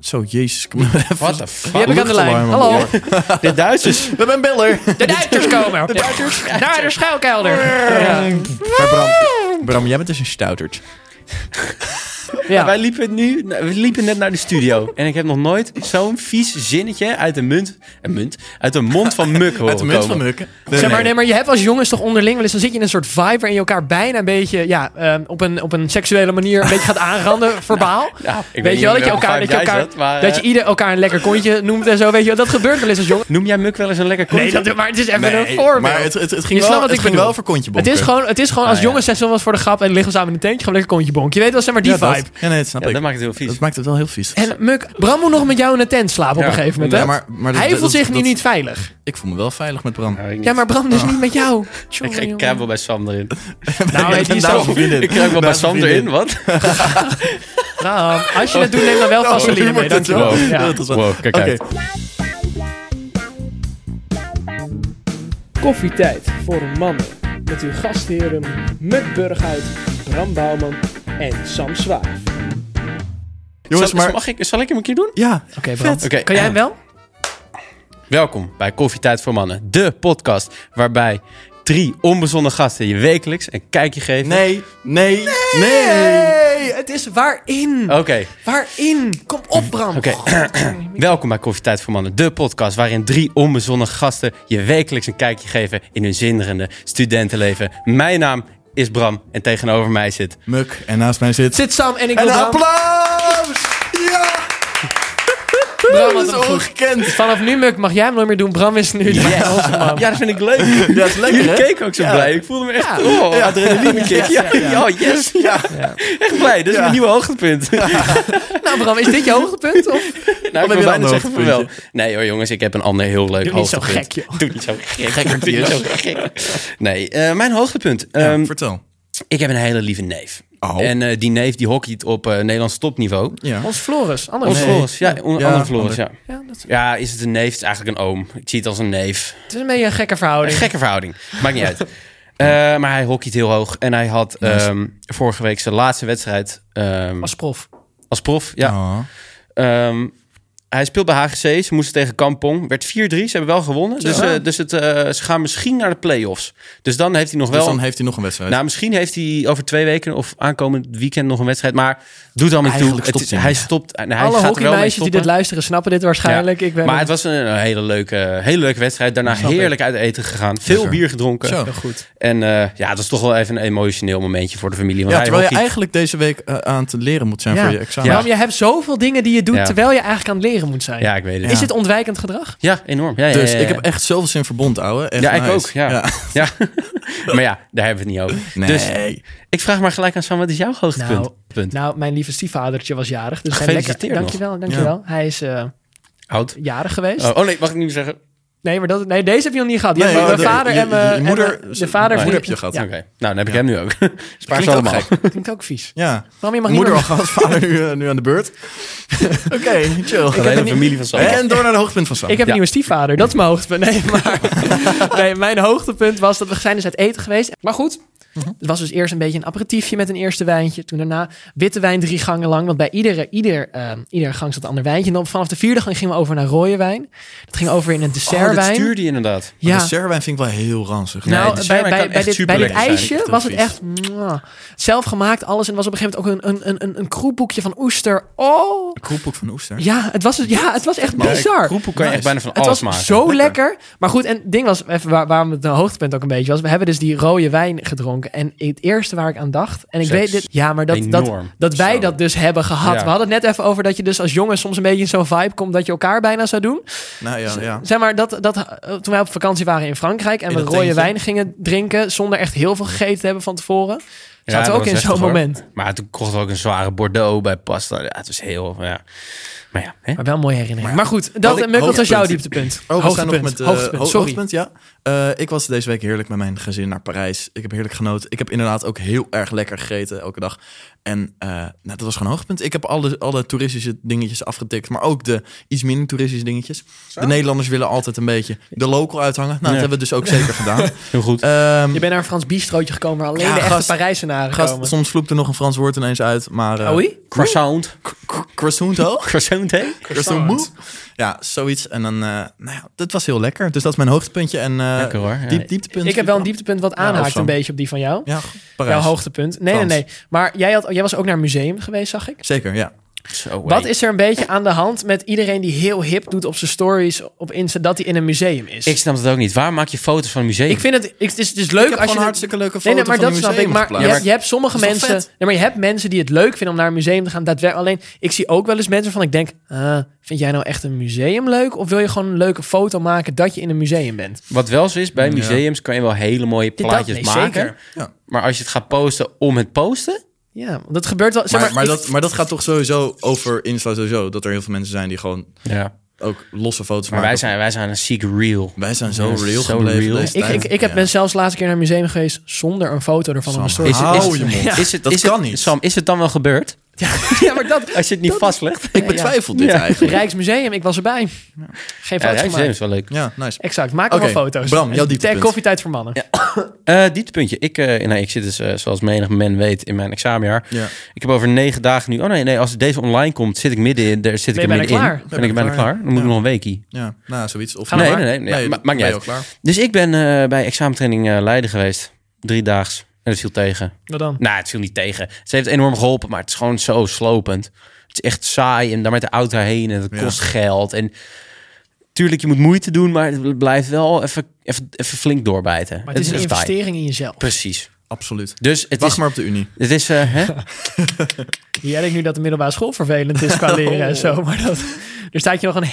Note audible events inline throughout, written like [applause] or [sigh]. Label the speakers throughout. Speaker 1: Zo, jezus. Kom maar even.
Speaker 2: What the
Speaker 1: Wie
Speaker 2: fuck?
Speaker 1: heb ik aan de lijn? Luchtverwarming,
Speaker 2: Hallo.
Speaker 1: hoor.
Speaker 2: De Duitsers.
Speaker 1: We hebben een beller.
Speaker 3: De Duitsers komen. De Duitsers. Naar de schuilkelder. Ja.
Speaker 1: Maar Bram, Bram, jij bent dus een stoutert.
Speaker 3: [laughs] Ja.
Speaker 2: Wij liepen nu, nou, we liepen net naar de studio. En ik heb nog nooit zo'n vies zinnetje uit de munt, een munt, uit de mond van Muk horen
Speaker 1: Uit de munt van
Speaker 2: komen.
Speaker 1: Mukken.
Speaker 3: Zeg maar, nee, maar je hebt als jongens toch onderling wel eens... dan zit je in een soort vibe waarin je elkaar bijna een beetje... Ja, ehm, op, een, op een seksuele manier een beetje gaat aanranden, verbaal.
Speaker 2: Ja, ik
Speaker 3: weet je wel, dat je elkaar... Dat je, elkaar dat je ieder elkaar een lekker kontje noemt en zo, weet je wel. Dat gebeurt wel eens als jongen.
Speaker 2: Noem jij Muk wel eens een lekker
Speaker 3: Nee,
Speaker 2: kontje?
Speaker 3: dat, maar het is even een
Speaker 1: Nee,
Speaker 3: voorbeeld.
Speaker 1: maar het, het, het ging,
Speaker 3: Je snapt
Speaker 1: wel,
Speaker 3: wat
Speaker 1: het
Speaker 3: ik
Speaker 1: ging
Speaker 3: bedoel.
Speaker 1: wel voor kontje
Speaker 3: Het is
Speaker 1: bonken.
Speaker 3: gewoon, het is gewoon als
Speaker 2: Ah, ja.
Speaker 3: jongens jongens, was voor de grap en liggen we samen in de tentje, gaan we lekker kontje bonken. Je weet wel, zeg maar, die
Speaker 1: Ja, dat-
Speaker 3: vibe.
Speaker 1: Ja, nee, dat snap
Speaker 2: Ja,
Speaker 1: ik.
Speaker 2: dat maakt het heel vies.
Speaker 1: Dat maakt het wel heel vies.
Speaker 3: En Muk, Bram moet nog met jou in een tent slapen op
Speaker 2: Ja.
Speaker 3: een gegeven moment.
Speaker 2: Ja,
Speaker 3: hè?
Speaker 1: maar- maar dat-
Speaker 3: Hij
Speaker 1: dat-
Speaker 3: voelt zich nu
Speaker 1: dat-
Speaker 3: niet veilig.
Speaker 1: Ik voel me wel veilig met Bram.
Speaker 2: Nou, ik niet.
Speaker 3: Ja, maar Bram, dus niet met jou.
Speaker 2: Ik,
Speaker 3: Tjonge,
Speaker 2: ik
Speaker 3: jonge.
Speaker 2: krijg wel bij Sam erin.
Speaker 3: Nou, die
Speaker 1: en
Speaker 3: is
Speaker 1: daar
Speaker 3: al-
Speaker 1: een vriendin.
Speaker 2: Ik krijg wel
Speaker 1: Daar
Speaker 2: bij
Speaker 1: is een
Speaker 2: Sam
Speaker 1: vriendin.
Speaker 2: erin, wat?
Speaker 3: Bram, als je dat doet, neem dan
Speaker 1: [laughs]
Speaker 3: wel
Speaker 1: Nou,
Speaker 3: vaseline mee. Dankjewel.
Speaker 2: wow.
Speaker 3: Ja.
Speaker 1: Dat is wel-
Speaker 2: Wow, kijk
Speaker 1: Oké.
Speaker 2: uit.
Speaker 4: Koffietijd voor mannen. Met uw gastheren Muk Burghuis, Bram Bouwman en Sam Zwaar.
Speaker 1: Jongens,
Speaker 2: zal,
Speaker 1: maar...
Speaker 2: mag ik, zal ik hem een keer doen?
Speaker 1: Ja,
Speaker 3: Oké, Bram.
Speaker 2: Oké.
Speaker 3: Kan jij hem wel?
Speaker 2: Welkom bij Koffietijd voor Mannen, de podcast waarbij drie onbezonnen gasten je wekelijks een kijkje geven.
Speaker 1: Nee, nee, nee.
Speaker 3: Nee, het is waarin.
Speaker 2: Oké,
Speaker 3: Waarin? Kom op, Bram.
Speaker 2: Oké. welkom bij Koffietijd voor Mannen, de podcast waarin drie onbezonnen gasten je wekelijks een kijkje geven in hun zinderende studentenleven. Mijn naam is Bram en tegenover mij zit.
Speaker 1: Muk, en naast mij zit...
Speaker 3: [clears throat] Zit Sam en ik
Speaker 1: En
Speaker 3: wil
Speaker 1: een
Speaker 3: Bram.
Speaker 1: applaus! Ja!
Speaker 3: Bram had
Speaker 1: Dat is
Speaker 3: hem goed.
Speaker 1: ongekend.
Speaker 3: Vanaf nu, Muk, mag jij hem nooit meer doen. Bram is nu de onze man.
Speaker 2: Ja, dat vind ik leuk.
Speaker 1: Dat is lekker,
Speaker 2: Jullie
Speaker 1: hè?
Speaker 2: keken ook zo blij. Ik voelde me echt.
Speaker 3: Ja.
Speaker 2: Oh, adrenaline kick. Ja,
Speaker 3: ja, ja.
Speaker 2: Oh, yes. Ja. Echt blij. Dit is
Speaker 1: Ja.
Speaker 2: mijn nieuwe hoogtepunt.
Speaker 3: Nou, Bram, is dit je hoogtepunt? Of?
Speaker 2: Nou, ik
Speaker 1: heb
Speaker 2: wil
Speaker 1: je
Speaker 2: bijna
Speaker 1: dan
Speaker 2: zeggen van
Speaker 1: een
Speaker 2: wel. Nee hoor jongens, ik heb een ander heel leuk
Speaker 3: Doe niet zo
Speaker 2: hoogtepunt.
Speaker 3: gek, joh.
Speaker 2: Doe niet zo gek.
Speaker 1: Gekker
Speaker 2: Doe
Speaker 1: die
Speaker 2: niet
Speaker 1: is.
Speaker 2: zo gek. Nee, eh, mijn hoogtepunt.
Speaker 1: Ja,
Speaker 2: Ehm,
Speaker 1: vertel.
Speaker 2: ik heb een hele lieve neef.
Speaker 1: Oh.
Speaker 2: En eh, die neef die hockeyt op eh, Nederlands topniveau.
Speaker 1: Ja.
Speaker 3: Ons Floris. Andere
Speaker 2: Ons
Speaker 3: Floris.
Speaker 2: Floris, ja, onder
Speaker 1: Ja,
Speaker 2: andere Floris,
Speaker 1: ander.
Speaker 2: ja.
Speaker 3: Ja, dat is,
Speaker 2: Ja, is het een neef? Het is eigenlijk een oom. Ik zie het als een neef.
Speaker 3: het is een beetje een gekke
Speaker 2: Een [laughs]
Speaker 3: verhouding.
Speaker 2: gekke verhouding.
Speaker 1: [laughs]
Speaker 2: Maakt niet uit. Eh, maar hij hockeyt heel hoog. En hij had
Speaker 1: Nice.
Speaker 2: ehm, vorige week zijn laatste wedstrijd ehm,
Speaker 3: Als prof.
Speaker 2: als prof. Ja.
Speaker 1: Oh.
Speaker 2: Ehm, hij speelt bij HGC. Ze moesten tegen Kampong. Werd 4-3. Ze hebben wel gewonnen. Dus, eh, dus het, eh, ze gaan misschien naar de play-offs. Dus dan heeft hij nog
Speaker 1: Dus
Speaker 2: wel...
Speaker 1: dan heeft hij nog een wedstrijd.
Speaker 2: nou, misschien heeft hij over twee weken of aankomend weekend nog een wedstrijd. Maar doet dan niet toe.
Speaker 1: Eigenlijk
Speaker 2: Het
Speaker 1: stopt
Speaker 2: is-
Speaker 1: hij
Speaker 2: hij
Speaker 1: niet.
Speaker 2: stopt. en hij
Speaker 3: Alle
Speaker 2: gaat er wel mee
Speaker 3: hockeymeisjes die
Speaker 2: stoppen.
Speaker 3: dit luisteren snappen dit waarschijnlijk. Ik ben
Speaker 2: maar het was een, een hele, leuke, hele leuke wedstrijd. Daarna
Speaker 1: Snap
Speaker 2: heerlijk uit eten gegaan. Veel
Speaker 1: Lekker.
Speaker 2: bier gedronken.
Speaker 1: Zo.
Speaker 3: Nou, goed.
Speaker 2: En eh, ja, dat is toch wel even een emotioneel momentje voor de familie. Want
Speaker 1: Ja,
Speaker 2: hij
Speaker 1: terwijl je
Speaker 2: hockeyt-
Speaker 1: eigenlijk deze week eh, aan het leren moet zijn
Speaker 3: Ja.
Speaker 1: voor je examen.
Speaker 3: Bram, je hebt zoveel dingen die je doet
Speaker 2: Ja.
Speaker 3: terwijl je eigenlijk aan het leren moet zijn.
Speaker 2: Ja, ik weet het.
Speaker 3: Is
Speaker 2: Ja,
Speaker 3: dit ontwijkend gedrag?
Speaker 2: enorm. Ja, ja,
Speaker 1: Dus
Speaker 2: ja,
Speaker 1: ik
Speaker 3: Eh.
Speaker 2: ja.
Speaker 1: heb echt zoveel zin verbond, ouwe. Echt
Speaker 2: Ja, ik
Speaker 1: nice.
Speaker 2: ook, ja. Ja, maar [laughs] ja, daar hebben we het niet over.
Speaker 1: Nee.
Speaker 2: Dus ik vraag maar gelijk aan Sam, wat is jouw hoogtepunt?
Speaker 3: Nou,
Speaker 2: Punt.
Speaker 3: Nou, mijn lieve stiefvadertje was jarig. Dus zijn
Speaker 2: Gefeliciteerd
Speaker 3: lekker.
Speaker 2: nog.
Speaker 3: Dankjewel, dankjewel. Hij is eh,
Speaker 2: Oud.
Speaker 3: jarig geweest.
Speaker 2: Oh, oh nee, mag ik niet meer zeggen?
Speaker 3: Nee, maar dat, nee, deze heb je nog niet gehad. Die
Speaker 1: Nee,
Speaker 3: hebben
Speaker 1: oh,
Speaker 3: mijn
Speaker 1: nee.
Speaker 3: vader
Speaker 1: Je-
Speaker 3: en mijn
Speaker 1: je moeder-
Speaker 3: en mijn- de vader
Speaker 1: moeder
Speaker 3: van-
Speaker 1: heb je gehad.
Speaker 3: Ja,
Speaker 2: Oké, nou dan heb ik hem nu ook. Spaar ze
Speaker 1: Klinkt ook
Speaker 2: allemaal.
Speaker 1: gek.
Speaker 3: klinkt ook vies.
Speaker 1: Ja.
Speaker 3: Bram, je mag
Speaker 1: Moeder al
Speaker 3: niet
Speaker 1: gehad, vader nu, eh, nu aan de
Speaker 3: [laughs]
Speaker 1: beurt. Oké, [laughs] chill.
Speaker 2: De hele familie van Sam.
Speaker 1: En door naar de hoogtepunt van Sam.
Speaker 3: meer- Ik heb
Speaker 2: Ja.
Speaker 3: een nieuwe stiefvader. Dat is mijn hoogtepunt.
Speaker 2: [laughs]
Speaker 3: Nee, maar nee, mijn hoogtepunt was dat we zijn dus uit eten geweest. Maar goed,
Speaker 2: Mhm.
Speaker 3: het was dus eerst een beetje een aperitiefje met een eerste wijntje. Toen daarna witte wijn drie gangen lang. Want bij iedere, ieder, ehm, ieder gang zat een ander wijntje. En dan vanaf de vierde gang gingen we over naar rode wijn. Dat ging over in een
Speaker 2: Oh, dat
Speaker 3: dessertwijn.
Speaker 2: stuurde je inderdaad.
Speaker 1: Ja.
Speaker 3: ja.
Speaker 1: Serwijn vind ik wel heel ranzig.
Speaker 2: Nee,
Speaker 3: Nou,
Speaker 2: de
Speaker 3: bij,
Speaker 2: schermen
Speaker 3: bij,
Speaker 2: kan
Speaker 3: bij
Speaker 2: echt
Speaker 3: dit, bij dit
Speaker 2: superlekker zijn.
Speaker 3: ijsje
Speaker 1: Echt
Speaker 3: was het
Speaker 1: heel
Speaker 3: echt mwah. zelf gemaakt alles. En er was op een gegeven moment ook een, een, een, een kroepboekje van oester. Oh,
Speaker 1: Kroephoek van Oester.
Speaker 3: ja, het was, ja, het was echt
Speaker 2: Ja,
Speaker 3: bizar.
Speaker 2: Kroepel kan je echt bijna van
Speaker 3: Het was
Speaker 2: alles maken.
Speaker 3: zo lekker. Maar goed, en het ding was, even waar, waarom het een hoogtepunt ook een beetje was. We hebben dus die rode wijn gedronken. En het eerste waar ik aan dacht. En ik
Speaker 2: Seks.
Speaker 3: weet dit. Ja, maar dat, dat,
Speaker 2: Enorm.
Speaker 3: dat wij
Speaker 2: Zo.
Speaker 3: dat dus hebben gehad.
Speaker 2: Ja.
Speaker 3: We hadden het net even over dat je dus als jongen soms een beetje in zo'n vibe komt. dat je elkaar bijna zou doen.
Speaker 1: Nou ja, ja.
Speaker 3: Zeg maar, dat, dat, eh, toen wij op vakantie waren in Frankrijk en
Speaker 1: In
Speaker 3: we
Speaker 1: dat
Speaker 3: rode
Speaker 1: tentje.
Speaker 3: wijn gingen drinken zonder echt heel veel gegeten te hebben van tevoren,
Speaker 2: Ja,
Speaker 3: zaten
Speaker 2: dat
Speaker 3: we ook
Speaker 2: was
Speaker 3: in zo'n
Speaker 2: heftig, hoor.
Speaker 3: moment.
Speaker 2: Maar toen kocht ook een zware Bordeaux bij pasta. Ja, het was heel... Ja. Maar ja, hè?
Speaker 3: Maar wel een mooie herinnering. Maar, goed,
Speaker 1: Had
Speaker 3: dat,
Speaker 1: ik-
Speaker 3: eh, Muk, wat was
Speaker 1: hoogtepunt.
Speaker 3: jouw dieptepunt?
Speaker 1: Oh, we zijn nog met eh,
Speaker 3: hoogtepunt,
Speaker 1: ho-
Speaker 3: sorry.
Speaker 1: hoogtepunt, ja. Eh, ik was deze week heerlijk met mijn gezin naar Parijs. Ik heb heerlijk genoten. Ik heb inderdaad ook heel erg lekker gegeten elke dag. En eh, nou, dat was gewoon een hoogtepunt. Ik heb alle, alle toeristische dingetjes afgetikt, maar ook de iets minder toeristische dingetjes. De Nederlanders willen altijd een beetje de local uithangen. Nou,
Speaker 2: Ja.
Speaker 1: dat hebben we dus ook zeker gedaan.
Speaker 2: Heel goed.
Speaker 3: Eh,
Speaker 1: Ehm,
Speaker 3: [laughs] Je bent naar een Frans bistrootje gekomen waar alleen
Speaker 1: Ja,
Speaker 3: de echte
Speaker 1: gast-
Speaker 3: Parijzenaren
Speaker 1: gast,
Speaker 3: komen.
Speaker 1: soms vloept er nog een Frans woord ineens uit, maar... eh,
Speaker 3: Oei?
Speaker 2: Croissant.
Speaker 1: k- k- Croissant
Speaker 3: [laughs]
Speaker 1: ook?
Speaker 2: Croissant, hè?
Speaker 1: Croissant. Ja, zoiets. En dan, eh, nou ja, dat was heel lekker. Dus dat is mijn hoogtepuntje. En eh,
Speaker 2: Lekker hoor. Ja.
Speaker 1: diep, dieptepunt.
Speaker 3: Ik heb wel een dieptepunt wat
Speaker 1: of
Speaker 3: aanhaakt
Speaker 1: zo.
Speaker 3: een beetje op die van jou.
Speaker 1: Ja, Parijs.
Speaker 3: Jouw hoogtepunt. Nee,
Speaker 1: Frans.
Speaker 3: nee, nee. Maar jij, had, jij was ook naar een museum geweest, zag ik.
Speaker 1: Zeker, ja.
Speaker 2: Zo,
Speaker 3: Wat is er een beetje aan de hand met iedereen die heel hip doet op zijn stories op Insta dat hij in een museum is?
Speaker 2: Ik snap het ook niet. Waar maak je foto's van een museum?
Speaker 3: Ik vind het, ik, het is, het is
Speaker 1: ik
Speaker 3: leuk
Speaker 1: heb
Speaker 3: als je
Speaker 1: gewoon
Speaker 3: het-
Speaker 1: hartstikke leuke foto
Speaker 3: Nee, nee, maar
Speaker 1: van
Speaker 3: dat
Speaker 1: een
Speaker 3: snap
Speaker 1: museum
Speaker 3: ik. Maar je,
Speaker 1: geplaatst.
Speaker 3: hebt- je hebt sommige
Speaker 1: Dat is toch
Speaker 3: mensen.
Speaker 1: vet?
Speaker 3: Nee, maar je hebt mensen die het leuk vinden om naar een museum te gaan. Daadwerkelijk. Alleen, ik zie ook wel eens mensen van ik denk, ah, vind jij nou echt een museum leuk? Of wil je gewoon een leuke foto maken dat je in een museum bent?
Speaker 2: Wat wel zo is, bij
Speaker 1: Ja.
Speaker 2: museums kan je wel hele mooie
Speaker 3: dat-
Speaker 2: plaatjes
Speaker 3: nee,
Speaker 2: maken.
Speaker 3: zeker.
Speaker 1: Ja.
Speaker 2: Maar als je het gaat posten om het posten...
Speaker 3: Ja, want dat gebeurt wel.
Speaker 1: Maar,
Speaker 3: Zeg maar,
Speaker 1: maar,
Speaker 3: ik-
Speaker 1: dat, maar dat gaat toch sowieso over Insta sowieso. Dat er heel veel mensen zijn die gewoon
Speaker 2: Ja.
Speaker 1: ook losse foto's
Speaker 2: Maar
Speaker 1: maken.
Speaker 2: wij zijn, wij zijn een ziek real.
Speaker 1: wij zijn zo
Speaker 2: Ja,
Speaker 1: real
Speaker 2: zo
Speaker 1: gebleven
Speaker 2: real.
Speaker 1: deze
Speaker 3: ik,
Speaker 1: tijd.
Speaker 3: ik, ik heb
Speaker 1: Ja.
Speaker 3: ben zelfs de laatste keer naar een museum geweest zonder een foto ervan op mijn
Speaker 1: Sam,
Speaker 3: story.
Speaker 2: Is het-
Speaker 1: hou
Speaker 2: is-
Speaker 1: je mond.
Speaker 2: Is het,
Speaker 1: Dat
Speaker 2: is
Speaker 1: kan
Speaker 2: het,
Speaker 1: niet.
Speaker 2: Sam, is het dan wel gebeurd?
Speaker 3: Ja, maar dat.
Speaker 2: Als je het niet
Speaker 3: Dat-
Speaker 2: vastlegt?
Speaker 1: Ik betwijfel dit
Speaker 2: Ja.
Speaker 1: eigenlijk.
Speaker 3: Rijksmuseum, ik was erbij. Geen
Speaker 2: Ja,
Speaker 3: foto's
Speaker 2: Rijksmuseum
Speaker 3: gemaakt.
Speaker 2: is wel leuk.
Speaker 1: Ja, nice.
Speaker 3: Exact, maak
Speaker 1: Oké,
Speaker 3: allemaal foto's.
Speaker 1: Bram, jouw dieptepunt.
Speaker 3: Ter koffietijd voor mannen.
Speaker 2: Eh dieptepuntje. Ik, eh, nou, ik zit dus, eh, zoals menig men weet, in mijn examenjaar.
Speaker 1: Ja.
Speaker 2: Ik heb over negen dagen nu... Oh nee, nee, als deze online komt, zit ik midden in. Daar
Speaker 3: Ben
Speaker 2: zit ik
Speaker 3: je
Speaker 2: er
Speaker 3: bijna
Speaker 2: middenin.
Speaker 3: klaar?
Speaker 2: Ben ik er bijna klaar. Dan moet ik nog een weekie.
Speaker 1: Ja, nou, zoiets. Of
Speaker 3: Gaan we
Speaker 2: Nee,
Speaker 3: maar.
Speaker 2: nee, nee, nee, ma-
Speaker 1: ben
Speaker 2: maakt niet
Speaker 1: je al
Speaker 2: uit.
Speaker 1: klaar.
Speaker 2: Dus ik ben eh, bij examentraining eh, Leiden geweest. Drie daags. En dat viel tegen.
Speaker 3: Wat dan?
Speaker 2: Nou, het viel niet tegen. Ze heeft enorm geholpen, maar het is gewoon zo slopend. Het is echt saai en daar met de auto heen en het
Speaker 1: Ja.
Speaker 2: kost geld. En tuurlijk, je moet moeite doen, maar het blijft wel even, even, even flink doorbijten.
Speaker 3: Maar het is een
Speaker 2: echt saai.
Speaker 3: investering in jezelf.
Speaker 2: Precies.
Speaker 1: Absoluut.
Speaker 2: Dus het
Speaker 1: Wacht
Speaker 2: is...
Speaker 1: maar op de Unie.
Speaker 2: Het is, eh,
Speaker 3: [laughs]
Speaker 2: hè?
Speaker 3: Jij denkt nu dat de middelbare school vervelend is qua leren en zo, maar dat, er staat je nog een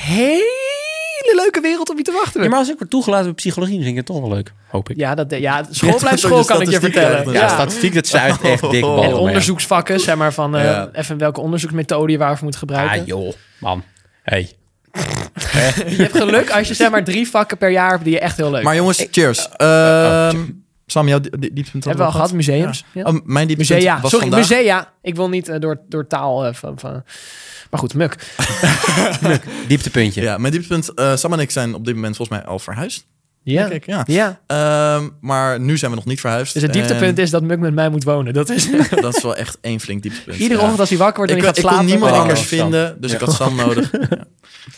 Speaker 3: hele leuke wereld op je te wachten.
Speaker 2: Ja, maar als ik word toegelaten bij psychologie, dan vind ik het toch wel leuk. Hoop ik. Ja,
Speaker 3: Ja, dat, ja school blijft
Speaker 1: Dat
Speaker 3: school,
Speaker 1: je
Speaker 3: kan ik je
Speaker 1: statistiek
Speaker 3: vertellen.
Speaker 1: krijgt, ja.
Speaker 2: statistiek, dat zuigt echt dik ballen.
Speaker 3: En
Speaker 2: maar ja.
Speaker 3: onderzoeksvakken, zeg maar, van eh,
Speaker 1: Ja.
Speaker 3: even welke onderzoeksmethode je waarvoor moet gebruiken.
Speaker 2: Ah, joh, man. Hey.
Speaker 3: je hebt geluk als je zeg maar drie vakken per jaar hebt die je echt heel leuk
Speaker 1: Maar
Speaker 3: vindt.
Speaker 1: jongens, cheers.
Speaker 2: Eh, oh,
Speaker 1: Ehm, Sam, jouw di- di- dieptepunt
Speaker 3: Hebben we al gehad, museums? Ja.
Speaker 1: Oh, mijn dieptepunt
Speaker 3: Musea,
Speaker 1: was
Speaker 3: sorry,
Speaker 1: vandaag.
Speaker 3: musea. Ik wil niet eh, door, door taal eh, van, van... Maar goed, muk.
Speaker 2: Dieptepuntje.
Speaker 1: Ja, mijn dieptepunt. eh, Sam en ik zijn op dit moment volgens mij al verhuisd.
Speaker 3: Ja.
Speaker 1: Kijk, ja.
Speaker 3: ja.
Speaker 1: Ehm, maar nu zijn we nog niet verhuisd.
Speaker 3: Dus
Speaker 1: [laughs]
Speaker 3: het dieptepunt is dat Muk met mij moet wonen. Dat is...
Speaker 1: is... Dat is wel echt één flink dieptepunt.
Speaker 3: Iedere
Speaker 1: Dus Ja.
Speaker 3: ochtend als hij wakker wordt en
Speaker 1: Ik,
Speaker 3: hij
Speaker 1: ik
Speaker 3: gaat
Speaker 1: kon
Speaker 3: slapen...
Speaker 1: niemand
Speaker 2: Oh,
Speaker 1: anders
Speaker 2: Sam.
Speaker 1: vinden, dus ik had Sam [laughs] nodig. Ja.